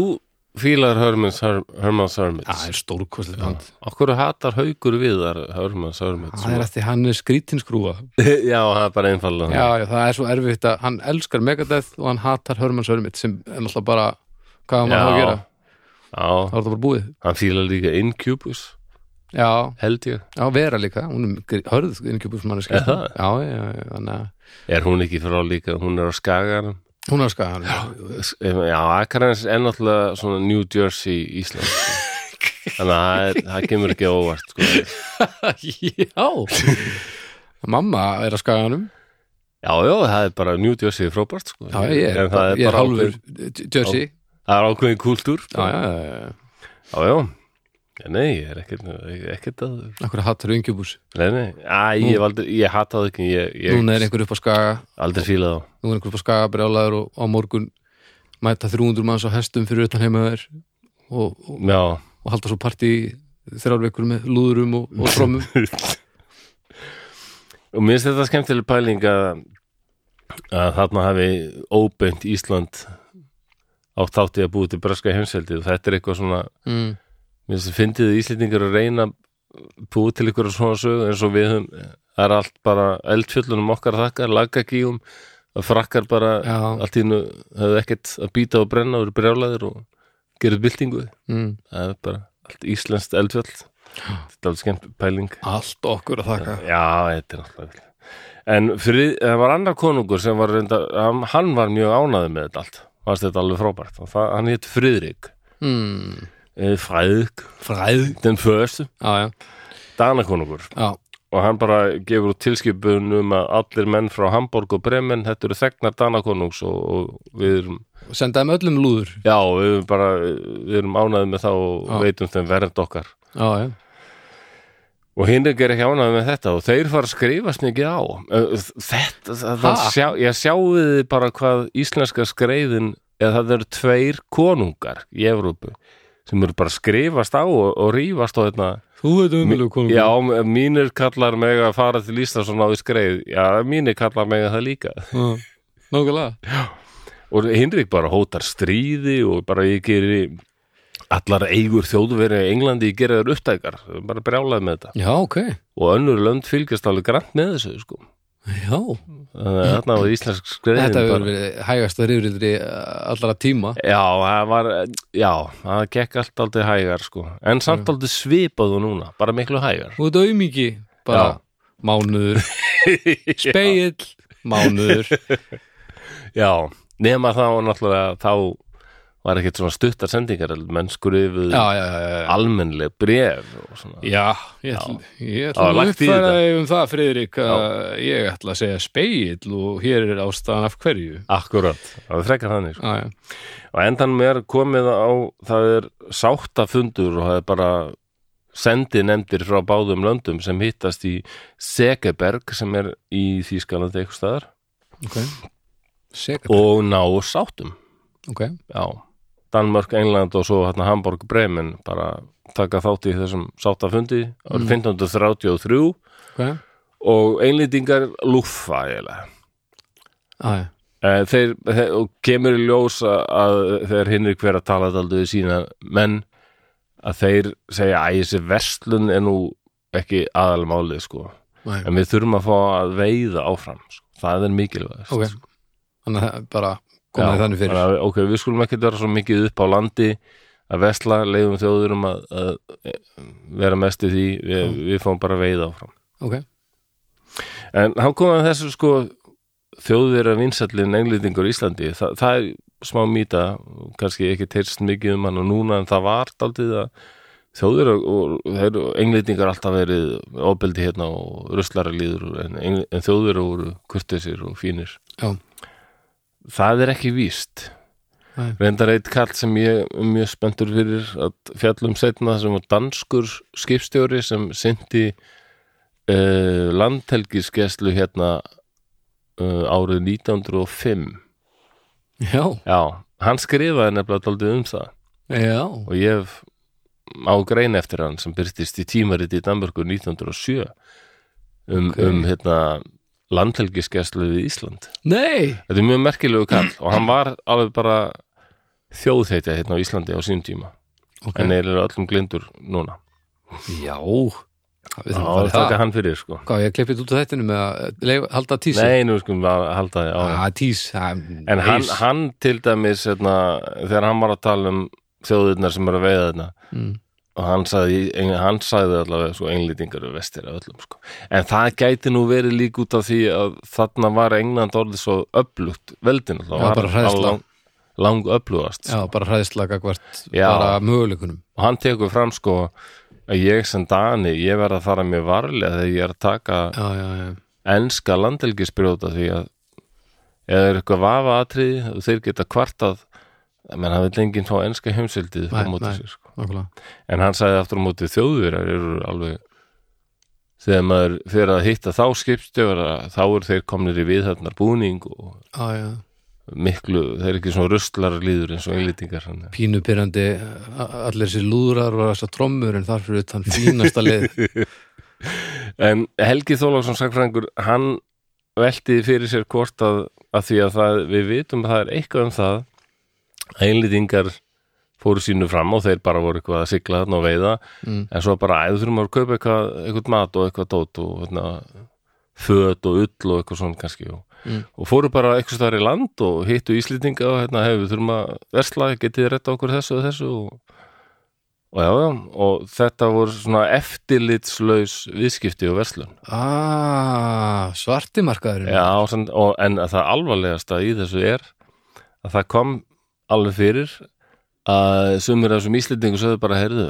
fílar Hermans Hermans Það Hermits er stórkostlið band okkur hatar haugur viðar Hermans Hermits Það er eftir hann er skrítinskrúa já, það er bara einfallega já, já, það er svo erfitt að hann elskar Megadeth og hann hatar Hermann Sörmitt sem er náttúrulega bara hvað maður á að gera, já, þá er það bara búið hann fílar líka Incubus Já, held ég á vera líka, hún er gr- hörð innkjöpum sem hann er Er það? skemmt Já, já, já, þannig að Er hún ekki frá líka, hún er á Skaganum hún er skagan Já, S- em, Já, Akranes er náttúrulega svona New Jersey Ísland sko. Þannig að það er- það kemur ekki á óvart sko. já. Mamma er að skaganum Já, já, það er bara New Jersey er frábært sko. Já, ég er, En það er ég er bara hálfur ákveðin- Jersey Það er ákveðin kúltúr sko. Já, já, já, já já, já. Já, Nei, ég er ekkert, ég er ekkert að Akkur hattar innkjöpus Nei, nei, Æ, ég, hef aldrei, ég hata það ekki Ég, ég Núna er einhver upp á skaga aldrei fílað á Nú er einhver upp á skaga brjálaður og á morgun mæta 300 manns á hestum fyrir utan heimaður og, og, Já, og halda svo partí í þrjár vekur með lúðurum og, og trómum og mér finnst þetta skemmtileg pæling að, að þarna hafi óbeint Ísland á þátti að búi til breska heimseldi og þetta er eitthvað svona mm. mér finnst að fyndið þið Íslendingar að reyna að búi til ykkur svona sög eins og við höfum, það er allt bara eldfjöllunum okkar þakkar, lagagíum að frakkar bara Já. allt í nú hefðu ekkert að býta og brenna og eru brjálæðir og gerðu byltingu Mm. það er bara allt íslenskt eldfjöll þetta er alveg skemmt pæling Allt okkur að þakka Já, þetta er náttúrulega En fyrir, það var annar konungur sem var reynda, hann- hann var mjög ánaði með þetta allt fannst þetta alveg frábært og það, hann hétt Friðrik mm. eh, Fræðik, Fræð den fyrstu Já, já, Danakonungur já, og hann bara gefur út tilskipun um að allir menn frá Hamborg og Bremen þetta eru þegnar Danakonungs og, og við erum, og senda þeim öllum lúður já, við erum bara við erum ánaði með það og Já. veitum þeim vernd okkar Já, já, og Hinrik er ekki ánægð með þetta og þeir fara að skrifast mikið á Ö, þetta, það, það Ha? sjá, ég sjáu þið bara hvað íslenska skreiðin eða það eru tveir konungar í Evrópu sem eru bara að skrifast á og, og rífast á þetta þú veit umjölu konungur já, m- mínir kallar meg að fara til Íslands og náðu skreið, já, mínir kallar meg að það líka Nákvæmlega og Hinrik bara hótar stríði og bara ég geri allar eigur þjóðverið í Englandi, ég geri þær upptækar bara brjálaði með þetta Já, ok, og önnur lönd fylgjast alveg grann með þessu sko já þannig að þarna var íslensk skriðin Þetta hefur verið hægast að rifrildri allra tíma Já, það var, já, það gekk allt aldrei hægar sko, en Mm. samt aldrei svipaðu núna, bara miklu hægar Þú ert auðmiki, bara Já. mánuður, speill mánuður, Já, nema þá var náttúrulega þá var ekkert svona stuttar sendingar menn skrifuð já, já, já, já, já. almennleg bref og svona Já, ég ætla, ég ætla Það var að lagt í uppfæra þetta. þig um það, Friðrik, að ég ætla að segja speill og hér er ástæðan af hverju. Akkurat, það er frekar þannig sko. Já, já. og endan mér komið á það er sáttafundur og það er bara sendi nefndir frá báðum löndum sem hittast í Segeberg sem er í Þýskalandi eitthvað staðar Ok. Segat, og ná sáttum ok. já, Danmörk, England og svo hérna Hamburg, Bremen bara taka þátt í þessum sáttafundi árið 1533 Ok. og einlýtingar lúfa eiginlega Já, já. Eh, þeir, þeir, og kemur í ljós að, að þeir hinnir hver að tala aldrei við sína menn að þeir segja að þessi verslun er nú ekki aðalmálið sko Nei. en við þurfum að fá að veiða áfram sko. það er mikilvægast Ok, sko. þannig að það er bara komið þannig fyrir að, ok, við skulum ekki vera svo mikið upp á landi að vesla, leiðum þjóðurum að, að eh, vera mest í því við, við fáum bara að veiða áfram Ok, En hann kom að þessu sko þjóðverða vinsallin englendingur í Íslandi, Þa, það er smá mýta, kannski ekki teirst mikið um hann og núna en það var daldið að þjóðverða og þeir englendingar alltaf verið ofbeldi hérna og ruslari líður en, Eng- en þjóðverða voru kurtisir og fínir. já, Það er ekki víst. Nei. Reyndar eitt kall sem ég er mjög spenntur fyrir að fjallum setna sem var danskur skipstjóri sem syndi uh, landhelgisgeslu hérna uh, árið 1905 já, Já, hann skrifaði nefnilega daldið um það já og ég hef á grein eftir hann sem byrtist í tímariti í Danmörku 1907 um, Ok. um hérna landhelgisgeslu við Ísland Nei, Þetta er mjög merkilegu kall og hann var alveg bara þjóðheitja hérna á Íslandi á sínum tíma ok, en er öllum glindur núna já Það við Já, þurfum það að er taka fara í það hann fyrir sko Hvað, ég klippið út á þettinu með að leif, halda tísi Nei, nú skulum við halda því á ah, Tís, það En hann, eis. hann til dæmis hérna, þegar hann var að tala um þjóðirnar sem eru að veiða þarna mm. og hann sagði, en- hann sagði allavega sko, einlýtingar eru vestir af öllum sko. en það gæti nú verið lík út af því að þarna var England orðið svo öflugt veldin Já, bara hræðsla. lang, lang öflugast Já, bara hræðislaga hvert Já. bara möguleikunum og hann tekur fram sko að ég sem Dani, ég verð að fara mér varlega þegar ég er að taka Já, já, já, enska landelgisbrjóta því að eða er eitthvað vafa atriði og þeir geta kvartað menn hann vil enginn fá enska heimsildið Nei, nei. sér, sko. nákvæmlega en hann sagði aftur á móti þjóðverjar eru alveg þegar maður fyrir að hitta þá skipstjóra þá eru þeir komnir í viðhæfnar búning og Já, já, miklu, þeir eru ekki svona rustlar líður eins og einlýtingar hann pínu pyrrandi allir sér lúðrar og þessar trommur en þar fyrir utan fínasta leið En Helgi Þólagsson sagfræðingur, hann velti fyrir sér hvort að, að því að það, við vitum að það er eitthvað um það að einlýtingar fóru sínu fram og þeir bara voru eitthvað að sigla þarna og veiða Mm. en svo bara æður þurfum að kaupa eitthvað, eitthvað mat og eitthvað dót og hérna, föt og ull og eitthvað svona kannski og, Mm. og fóru bara eitthvað stær í land og hittu íslýtinga og hérna hefur þurfum að versla, getið retta okkur þessu og þessu og Og já, já, og þetta voru svona eftirlitslaus viðskipti og verslun. Ah, svartimarkaðurinn Já, sem, og, en það alvarlegasta í þessu er að það kom alveg fyrir að sumir af þessum íslendingu sögðu bara, heyrðu,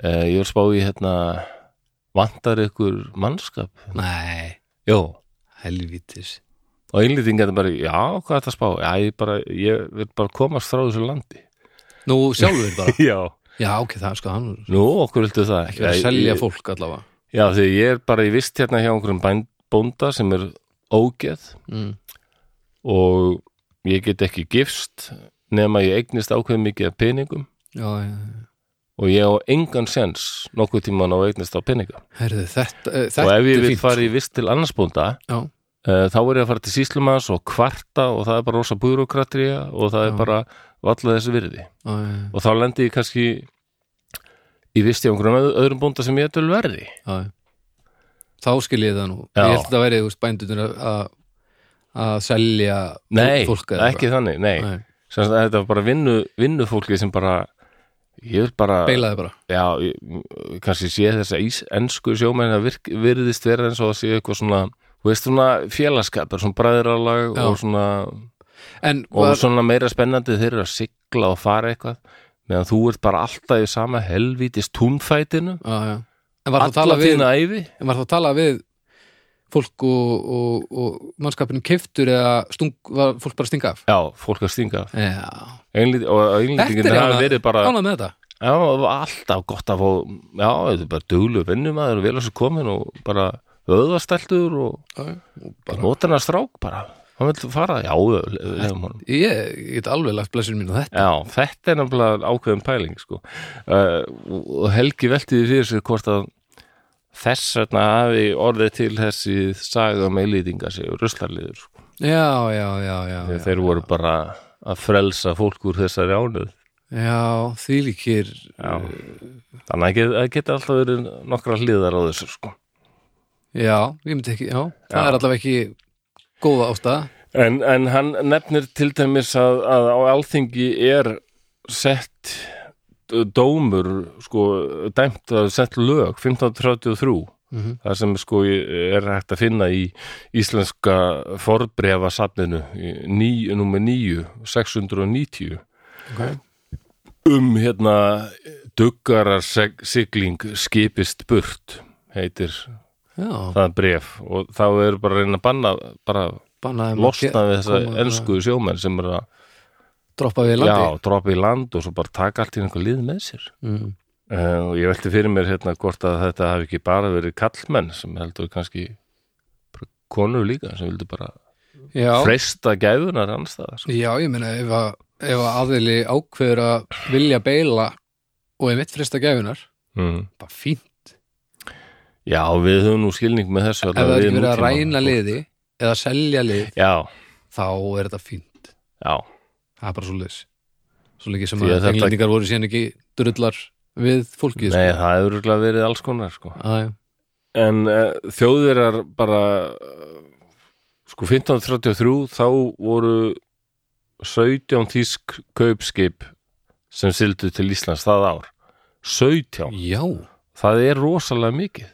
e, ég er spá í hérna, vantar ykkur mannskap? Nei, Jó. helvítis Og einlýtingar bara, já, hvað er það að spá? Já, ég, bara, ég vil bara komast frá þessu landi. Nú sjálfur bara Já. Já, ok, það er sko hann Nú, okkur viltu það? Ekki verið að Já, selja ég- fólk allavega Já, því ég er bara í vist hérna hjá einhverjum bænd- bónda sem er ógeð mm. og ég get ekki gifst nema ég eignist ákveð mikið af peningum Já, já, já og ég á engan sens nokkuð tíman á að eignast á peninga Herðu, þetta, eh, og þetta ef ég er vil fínt fara í vist til annars bónda Já, uh, þá er ég að fara til síslumans og kvarta og það er bara rosa búrokratrija og það er Já. bara valla þessu virði já, já, já, og þá lendi ég kannski í vist hjá einhverjum öð- öðrum bónda sem ég er til verði já þá skil ég það nú Já. ég held að það væri þú veist, bændunir að- að að selja Nei, fólk eða ekki þannig, nei, eitthvað. nei. Nei, Sem, sagt, þetta var bara vinnu, vinnufólki sem bara ég vil bara beilaði bara já, ég, kannski sé þess að ís, ensku sjómenn að virk, virðist vera eins og það sé eitthvað svona þú veist svona félagskapur, svona bræðralag Já. og svona, en og var, svona meira spennandi þeir eru að sigla og fara eitthvað meðan þú ert bara alltaf í sama helvítis túnfætinu, á, já. en var það að alla tala við þína ævi en var það að tala við fólk og, og, og mannskapinu keiftur eða stung, var fólk bara að stinga af já, fólk að stinga af. já, Einlít, og einlýtingin Þetta er hafi ánægð- verið bara ánað með þetta já, og alltaf gott að fá já, þetta er bara duglu vinnumæður og vel að svo komin og bara vöðvasteltur og Já, já, og bara, notan að strák bara, hann vil fara já, lefum honum ég, ég get alveg lagt blessur mín á þetta Já, þetta er náttúrulega ákveðin pæling sko. uh, og Helgi veltiði fyrir sér hvort að þess vegna hafi orðið til þessi saga með lýtinga sig og ruslarliður sko. já, já, já, já, já. þeir voru bara að frelsa fólk úr þessari ánöð Já, þvílíkir Já. þannig að get- að geta alltaf verið nokkra hliðar á þessu sko. Já, ég myndi ekki, já, það Já. er allavega ekki góða ástæða en, en hann nefnir til dæmis að, að á alþingi er sett dómur sko, dæmt að sett lög 1533 mm -hmm. það sem sko er hægt að finna í íslenska forbrefa safninu, nummer 9 690 okay. um hérna duggarar seg- sigling skipist burt heitir Já, það bref og þá er bara að reyna að banna bara bannaði losna við koma- þessa ensku sjómenn sem er að droppa við í já, landi droppa í land og svo bara taka allt í einhver lið með sér mm. Eh, og ég velti fyrir mér hérna hvort að þetta hafi ekki bara verið kallmenn sem heldur kannski bara konur líka sem vildu bara Já, freista gæfunar annars staðar sko. já, ég meina ef að, ef að aðili ákveður að vilja beila og er mitt frista gefunar mm. bara fínt, Já, við höfum nú skilning með þessu ef það allavega er við ekki verið að nútímann, ræna sko. liði eða selja lið, Já, þá er þetta fínt já, það er bara svo leis svo lengi sem Því að að þetta- englendingar voru síðan ekki drullar við fólkið nei, sko. það hefur örugglega verið alls konar sko. Æ, En uh, þjóðverjar bara uh, sko 1533 þá voru 17 tísk kaupskip sem sildu til Íslands það ár 17, Já, það er rosalega mikið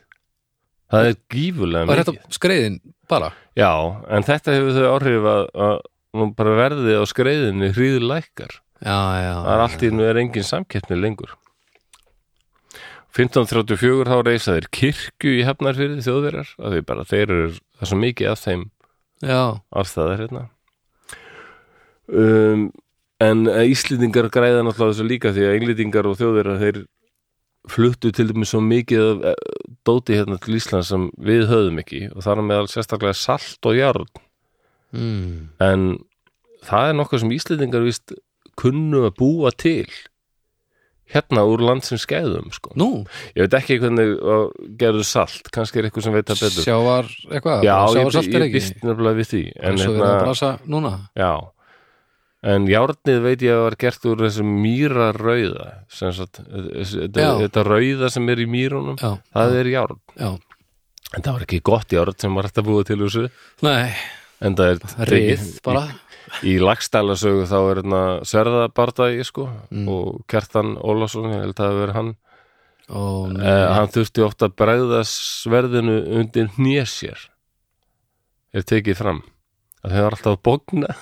það er gífulega var mikið þetta skreiðin bara? Já, en þetta hefur þau áhrif að, að nú bara verði á skreiðinni hríðlækkar. Já, já, Það er allt í nú er engin samkeppni lengur. 1534 þá reisa þeir kirkju í hefnarfyrði þjóðverjar af því bara þeir eru það er svo mikið af þeim já, allstæðar hérna. Um, en eh, Íslendingar græða náttúrulega þessu líka því að Englendingar og þjóðverjar þeir fluttu til dæmis svo mikið af eh, dóti hérna til Íslands sem við höfðum ekki og þar á meðal sérstaklega salt og járn mm. en það er nokkuð sem Íslendingar vist kunnu að búa til hérna úr landsins skæðum sko. Nú, ég veit ekki hvernig að gerðu salt kannski er eitthvað sem veit það betur sjávar eitthvað, já, sjávar ég, salt er ég ekki býst nefnilega við því en, eins og við erum að hérna, brasa núna já, en járnið veit ég að var gert úr þessu mýra rauða sem sagt, þetta, Já. þetta rauða sem er í mýrunum Já, það er járn já, en það var ekki gott járn sem var hægt að búa til úr þessu nei, en það er rið bara Í lagstæla sögu þá er hérna Sverðabardagi sko Mm. og Kjartan Ólafsson, ég held að það veri hann og eh, hann þurfti oft að bregða sverðinu undir hnésjér er tekið fram að þau var alltaf að bókna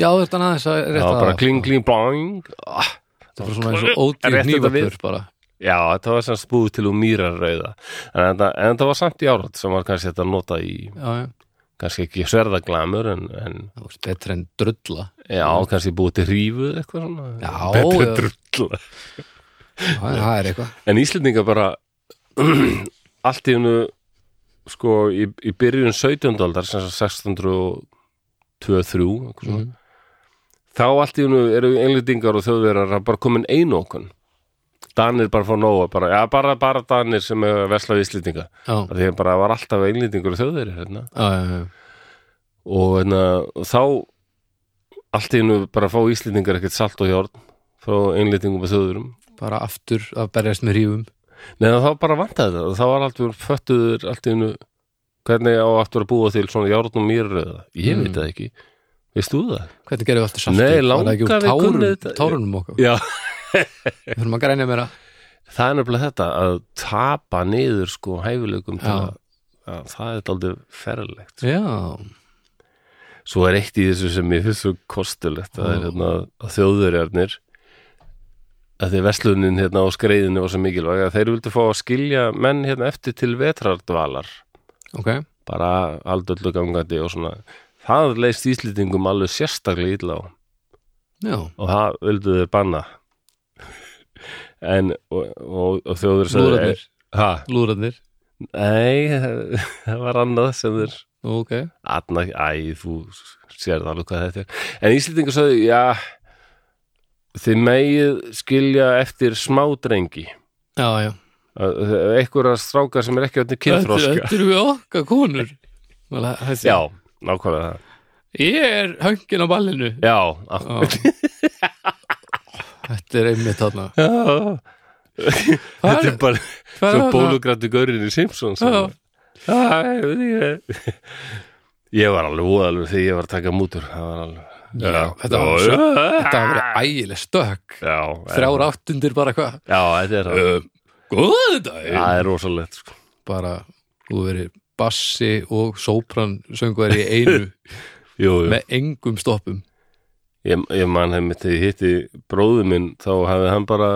já, þetta er aðeins að sko. það rétta var bara kling, kling, bang ah, þetta er bara svona eins og ódýr Rétta þetta við. hnífapur bara já, þetta var sem spúið til úr mýrarrauða en þetta, en þetta var samt í árat sem var kannski þetta nota í já, já, kannski ekki sverðaglamur en, en það var betra en drulla já, kannski búið til rífuð eitthvað svona Já, betri já. drulla já, það er eitthvað En Íslendinga bara allt í hennu sko í, í byrjun 17. aldar sem sagt 1623 eitthvað svona, Mm. þá allt í hennu eru englendingar og þjóðverðar að bara komin einokun Danir bara fá nóga bara, ja, bara, bara Danir sem hefur veslað Íslendinga já, af því að bara var alltaf englendingur og þjóðverðir hérna. já, já, já, og hérna, og þá allt í hennu bara fá Íslendingar ekkert salt og hjórn frá englendingum og þjóðverðum bara aftur að berjast með rífum Nei, þá bara vantaði það. Þá var alltaf föttuður allt í einu hvernig á aftur að búa til svona járnum mýrröða ég Mm. veit það ekki, veist þú það? Hvernig gerum við alltaf saltið? Nei, Var það ekki úr langaði kunni tárun, þetta- tárunum okkar? já, Við þurfum að grænja meira það er nefnilega þetta að tapa niður sko hæfileikum til Já. að, að það er aldrei ferlegt Já, svo er eitt í þessu sem mér finnst svo kostulegt það er Já. hérna að þjóðverjarnir að því verslunin hérna á skreiðinu var svo mikilvæg að þeir vildu fá að skilja menn hérna eftir til vetrardvalar ok bara aldöldu gangandi og svona það leist íslýtingum alveg sérstaklega illa á Já, og það vildu þeir banna en og, og, og þjóður lúrarnir, ha, lúrarnir Nei, það var annað sem þeir Ok, Atna, æ, þú sér það alveg hvað þetta er En Íslendingur sagði, já Þið megið skilja eftir smá drengi já, já Einhverja strákar sem er ekki öðnir kynþróska Þetta eru við okkar konur Vel, það- það sé- Já, nákvæmlega það Ég er höngin á ballinu Já, af- Já. Þetta er einmitt þarna já. Hvað Þetta er er hvað er bara svo þarna? bólugrættu gaurinn í Simpsons Já. Æ, ég veit ekki. Ég var alveg voðalur þegar ég var að taka mútur Það var alveg Já, þetta var Já, svo- já. Þetta hafa verið ægileg stökk Já, Þrjár áttundir bara hvað Já, þetta er það. uh, Góð dag Það er rosalegt sko. Bara, þú verið bassi og sópran söngvar í einu Jú, jú. með engum stoppum Ég, ég man hef mitt þegar ég hitti bróðu minn þá hafði hann bara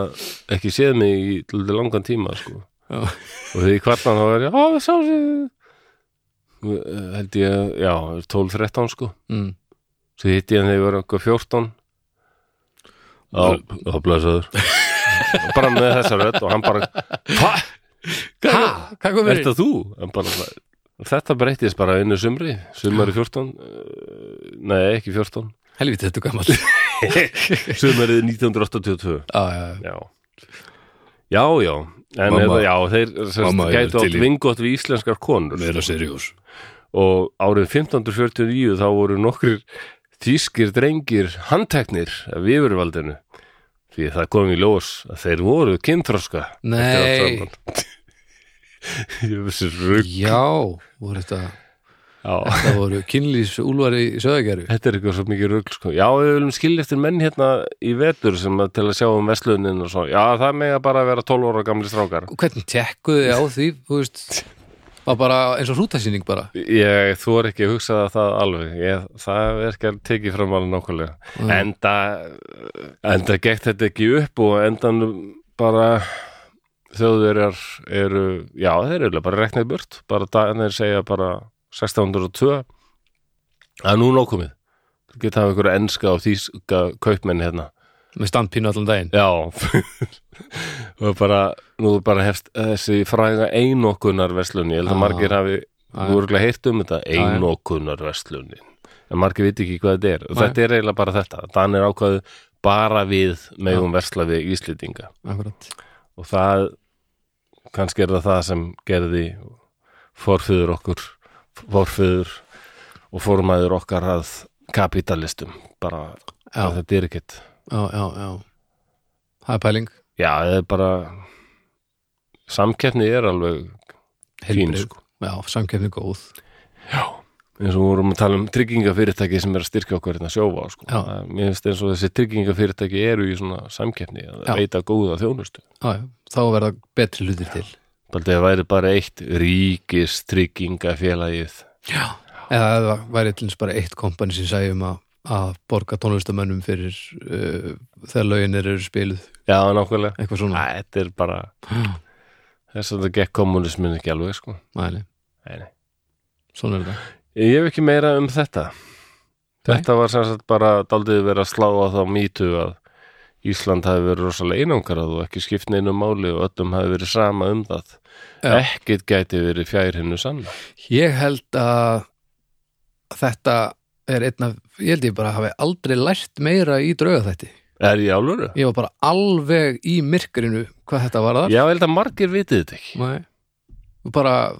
ekki séð mig í lítið langan tíma sko. Já. og þegar ég kvartan þá var ég, á, það sá sér held ég, að- já, 12-13 sko, mm. svo hitti ég hann þegar ég var okkur 14 Já, þá blæsaður bara með þessa rödd og hann bara Hva? Hvað Hvað kom Er verið? þetta þú? En Bara, þetta breytist bara einu sumri sumari 14 eh, Nei, ekki 14 Helviti þetta er gammal Já, Sumarið 1982 já, já Já, já, já. En Mamma- eða, já, þeir sérst, Mamma, ég er gætu til átt í- vingott við íslenskar konur Meira seriós og árið 1549 þá voru nokkrir þýskir drengir handteknir af yfirvaldinu því það kom í ljós að þeir voru kynþroska Nei. Ég vissi rugg Já, voru þetta Já, Það voru kynlýs úlvar í söðagerfi þetta er eitthvað svo mikið rugg sko. Já, við viljum skilja eftir menn hérna í vetur sem að til að sjá um verslunin og svo Já, það mega bara vera 12 ára gamli strákar Og hvernig tekkuðu þið á því, þú veist Var bara eins og hrútasýning bara Ég þor ekki að hugsa það, það alveg ég, það er ekki að tekið fram alveg Mm. nákvæmlega enda enda gekk þetta ekki upp og endan bara þjóðverjar eru já þeir eru bara reknaði burt bara dagarnir segja bara 1602 það er nú nókomið þú geta hafa einhverja enska og þýska kaupmenn hérna Með standpínu allan daginn já og bara nú bara hefst þessi fræga einokunar verslun ég held að Ah. margir hafi Já, Þú eru ekki heirt um þetta, já. einokunar verslunin en margir veit ekki hvað þetta er og Nei. þetta er eiginlega bara þetta, Dan er ákvaðu bara við megum versla við Íslendinga Akkurat og það kannski er það það sem gerði forföður okkur forföður og formæður okkar að kapitalistum bara Já. að þetta er ekkert Já, já, já Það er pæling já, það er bara samkeppni er alveg fín Heilbrigð. sko Já, samkeppni góð eins og við vorum að tala um tryggingafyrirtæki sem er að styrkja okkur hérna sjófa sko. Já. Það- mér finnst eins og þessi tryggingafyrirtæki eru í svona samkeppni að Já. veita góða þjónustu Já, já, þá verða betri hlutir til Baldi það væri bara eitt ríkis tryggingafélagið Já Eða ef það væri til eins bara eitt kompani sem segjum að, að borga tónlistamönnum fyrir uh, þegar lögin eru spiluð já, nákvæmlega eitthvað svona Æ, þetta er bara, Já, þess að það gekk kommunismin ekki alveg sko. Mæli, Nei, nei. svona er þetta ég hef ekki meira um þetta þetta var sem sagt bara daldið verið að slá á þá mýtu að Ísland hafi verið rosalega einangrað og ekki skipt neinu máli og öllum hafi verið sama um það Já. ekkit gæti verið fjær hennu sanna Ég held að þetta er einn af, ég held ég bara hafi aldrei lært meira í drauga þetta Er ég álfuru? Ég var bara alveg í myrkrinu hvað þetta var þar Já, ég held að margir vitið þetta ekki. Nei Og bara,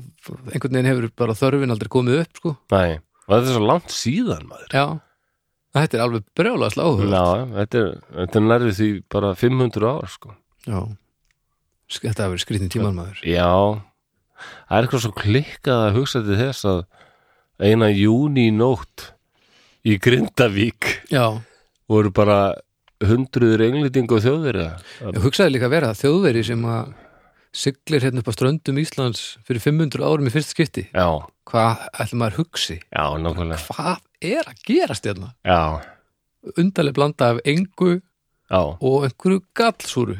einhvern veginn hefur bara þörfin aldrei komið upp, sko Nei, og þetta er svo langt síðan, maður. Já, þetta er alveg brjóla sláhug Já, þetta er, þetta er nærfið því bara 500 ára, sko. Já Sk- Þetta hafa verið skrýtni tíman maður Já, það er eitthvað svo klikkað að hugsa til þess að eina júni nótt í Grindavík já, voru bara hundruður englendingu og þjóðverja ég hugsaði líka að vera að þjóðveri sem að siglir hérna upp á ströndum Íslands fyrir 500 árum í fyrst skipti já, hvað ætlum maður hugsi já, nákvæmlega hvað er að gerast hérna já, undarlega blanda af engu já, og einhverju gallsúru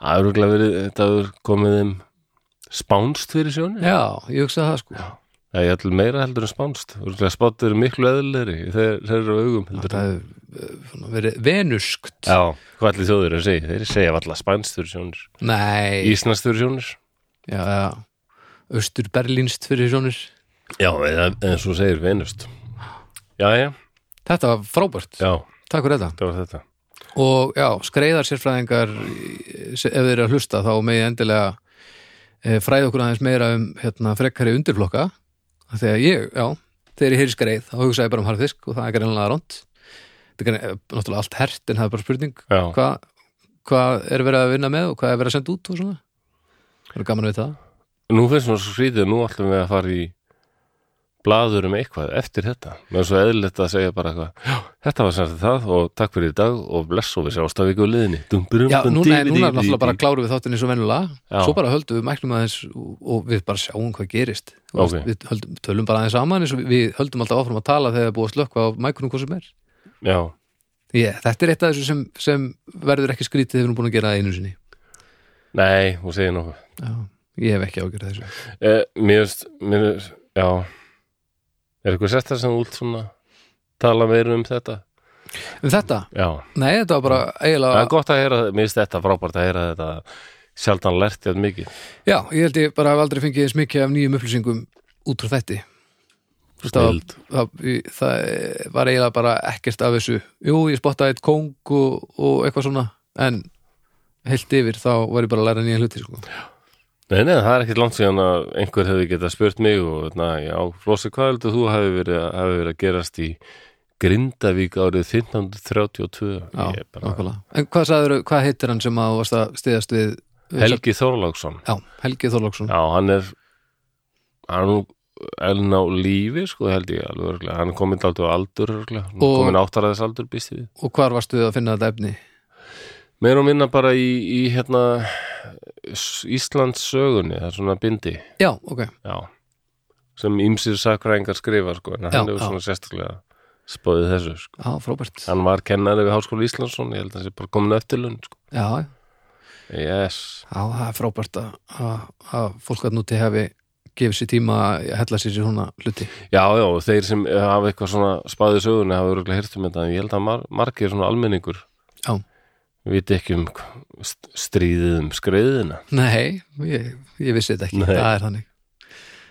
það er örugglega verið þetta er komið þeim spánst fyrir sjónu Mm. já, ég hugsaði það sko Það er allir meira heldur en spánst Úrlega spánst eru miklu eðlilegri þeir, þeir eru á augum heldur þetta hefur eh, svona verið venuskt Já, hvað allir þjóður að segja? Þeir segja allar spánst fyrir sjónir nei, Íslands fyrir sjónir já, já austur berlínst fyrir sjónir Já, eða, en svo segir venust Já, já, þetta var frábært, já, takk fyrir þetta það var þetta og já, skreiðar sérfræðingar eh, se- ef þeir eru að hlusta þá megi endilega eh, fræða okkur aðeins meira um hérna, frekkari undirflokka Af því að ég, já, þegar ég heyri skreið þá hugsa ég bara um harfisk og það er greinlega ránt þetta er greinilega- náttúrulega allt hert en það er bara spurning Já, hvað hva er verið að vinna með og hvað er verið að senda út og svona það er gaman að vita það nú finnst mér svo skrítið Nú ætlum við að fara í blaður um eitthvað eftir þetta Mér er svo eðlilegt að segja bara eitthvað Já, þetta var sem sagt það og takk fyrir í dag og bless og við sjást að við góðu liðinni Dum, brum, Já, dum, núna, dí, núna dí, dí, er náttúrulega bara dí. kláru við þáttinni svo venjulega, Já. svo bara höldum við mæknum aðeins og, og við bara sjáum hvað gerist Þú veist, Ok. við höldum, tölum bara aðeins saman eins og við- við höldum alltaf áfram að tala þegar það er búið að slökka á mækunum hvað sem er Já, yeah, Þetta er eitt af þessu sem, sem verður ekki skrítið þegar við erum búin að gera það einu sinni nei, hún segir nokkuð Já, ég hef ekki ágjörð þessu Eh, mér finnst, mér finnst, já Er eitthvað sérstæð sem út svona tala meira um þetta? Um þetta, Já, nei, þetta var bara það er eiginlega, gott að heyra, mér finnst þetta frábært að heyra þetta sjaldan lert jætt mikið já, ég held ég bara hef aldrei fengið eins mikið af nýjum upplýsingum út frá þetta Snild, það, það var eiginlega bara ekkert af þessu Jú, ég spottaði eitt kóng og, og eitthvað svona en heilt yfir þá var ég bara að læra nýja hluti sko. nei, nei, það er ekkit langt síðan að einhver hefði getað spurt mig og na, já, Flósi, hvað heldur þú hafi verið, að- hafi verið að gerast í Grindavík árið 1532 Já, Ég bara, nákvæmlega. En hvað sagður, hvað heitir hann sem að þú varst að stiðast við? Helgi Þorláksson Já, Helgi Þorlóksson Já, hann er hann er nú enn á lífi sko held ég alveg örglega, hann er komin aldrei á aldur örglega, hann er Og- komin áttaraðis aldur býst ég við. Og hvar varstu við að finna þetta efni? Meir og minna bara í, í hérna S- Íslands sögunni, það er svona bindi Já, ok, já, sem ýmsir sakræðingar skrifa sko, en hann Já, hefur já. svona sérstaklega spóðið þessu sko. já, frábært Já, Hann var kennari við Háskóla Íslandsson, ég held að hann sé bara komin eftirlun sko. já, Yes, það er frábært að, að, að fólk að núti hefi gefið sér tíma að hella sér sér svona hluti já, já, og þeir sem hafa eitthvað svona spáðið sögunni hafa örglega heyrt um þetta, en ég held að mar margir svona almenningur Já, Við viti ekki um hva- st- stríðið um skreiðina. nei, ég, ég vissi þetta ekki Nei. Það er þannig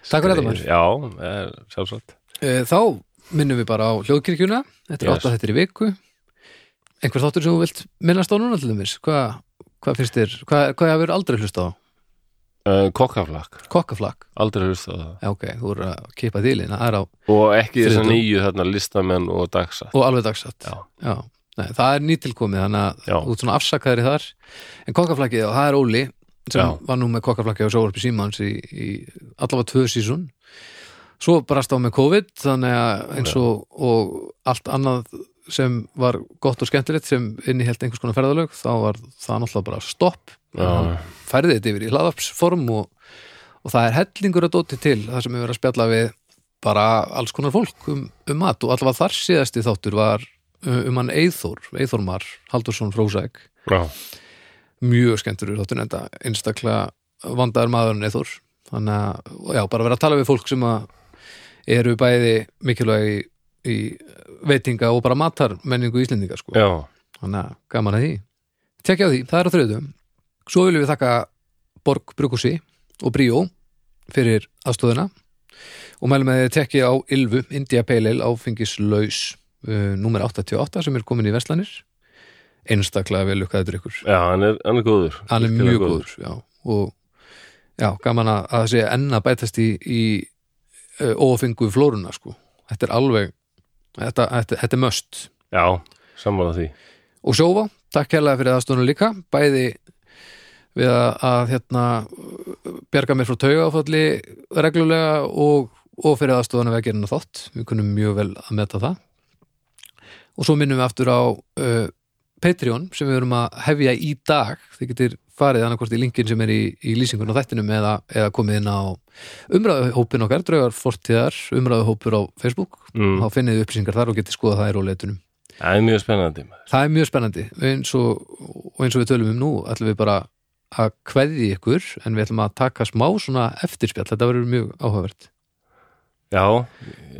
Takk fyrir þetta maður Skrið- Já, eh, sjálfsagt. Eh, Þá minnum við bara á hljóðkirkjuna Þetta er Yes. yes. átta þetta í viku Einhver þáttur sem þú vilt minnast á núna til þeimis Hvað hva finnst þér? Hvað hva hefur aldrei hlust á? Uh, kokkaflakk, Kokkaflak? aldrei hlusta á það. Já, ok, þú eru að keipa þýlin Það er á, Og ekki þess að Þriðjudögum. nýju þarna listamenn og dagsa. og alveg dagsatt Já. Nei, það er nýtilkomið, þannig Já. að út svona afsakaðri þar En kokkaflakið, og það er Óli sem Já. var nú með kokkaflakið á Sjóvarpi Símans í, í allavega tvö sísun Svo brast á með COVID þannig að eins og, og allt annað sem var gott og skemmtilegt sem innihelt einhvers konar ferðalög þá var það náttúrulega bara stopp Já. Hann færði þetta yfir í hlaðarpsform og, og það er hellingur að dóti til það sem við verið að spjalla við bara alls konar fólk um, um mat og allavega þar síðasti þáttur var uh, um hann Eithor, Eithormar Haldursson Frósæk, Já, mjög skemmtur þáttur enda einstaklega vandaður maðurinn Eithor þannig að, og já, bara vera að tala við fólk sem að eru bæði mikilvæg í, í veitinga og bara matar menningu Íslendinga sko já, þannig að gaman að því tekja á því, það er á þriðutum svo viljum við þakka Borg Brukusi og Bríó fyrir aðstóðina og mælum að þið tekja á Ylfu India Pale Ale áfengislaus uh, nummer 88 sem er komin í Vestlanir einstaklega vel lukkaði drikkur já, hann er, hann er góður. hann er Virkilega mjög góður já, og já, gaman að, að það sé enn að bætast í, í uh, ófengu flóruna sko. þetta er alveg þetta, þetta, þetta er möst Já, sammála því. og sjófa, takk hérlega fyrir aðstóðunum líka bæði við að, að hérna, bjarga mér frá taugafalli reglulega og, og fyrir aðstofan að veggerina þátt, við kunum mjög vel að meta það og svo minnum við aftur á uh, Patreon sem við erum að hefja í dag þið getur farið annarkvort í linkin sem er í, í lýsingun á þættinum eða, eða komið inn á umræðuhópin okkar draugar fortíðar, umræðuhópur á Facebook Mm. þá finnið þið upplýsingar þar og um. getið skoða það í róleitunum Það er mjög spennandi maður. það er mjög spennandi eins og, og eins og við tölum um nú ætlum við bara að kveði ykkur en við ætlum að taka smá svona eftirspjall þetta verður mjög áhugavert Já,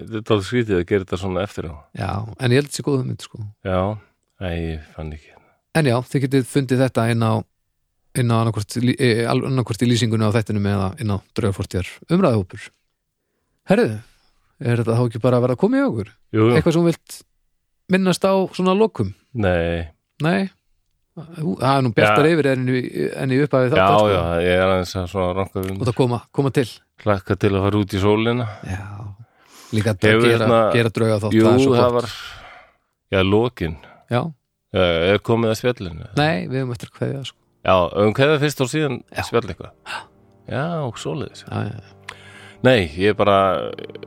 þetta er skrítið að gera þetta svona eftir á já, en ég held þessi góðum mynd sko Já, æ, ég fann ekki En já, þið getið fundið þetta inn á inn á annarkvort, lí- eh, al- annarkvort í lýsingunni á þettinum eða inn á draugafortjar umræðahópur Herðu, er þetta þá ekki bara að vera að koma í okkur? Jú, jú, Eitthvað sem þú vilt minnast á svona lokum? nei Nei, Ú, það er nú bjartar Já. yfir en í, en í upphafi Já, þetta já, ég er aðeins að svona ranka við og það koma, koma til Klakka til að fara út í sólina Já, líka að Hefur gera, hérna- gera drauga þátt Jú, er svo það gott. var Já, lokin Já, Já, Er komið að spjallinu? nei, við höfum eftir að kveðja sko. Já, um hverða fyrst og síðan Já. spjall eitthvað Já, og svoleiðis já, já, já. Nei, ég bara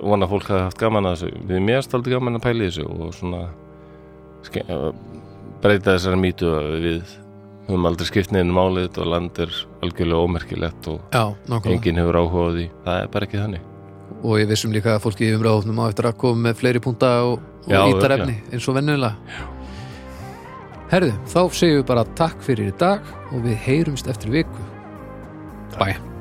vona að fólk hafi haft gaman að þessu Við mér staldi gaman að pæla í þessu og svona ske, breyta þessari mýtu að við höfum aldrei skipt neðinu málið þetta og land er algjörlega ómerkilegt og já nákvæmlega enginn hefur áhuga á því það er bara ekki þannig og ég vissum líka að fólki í umræðofnum á eftir að koma með fleiri punta og, og Já, ítar örugglega. efni eins og vennulega Herðu, þá segjum við bara takk fyrir í dag og við heyrumst eftir viku Bæ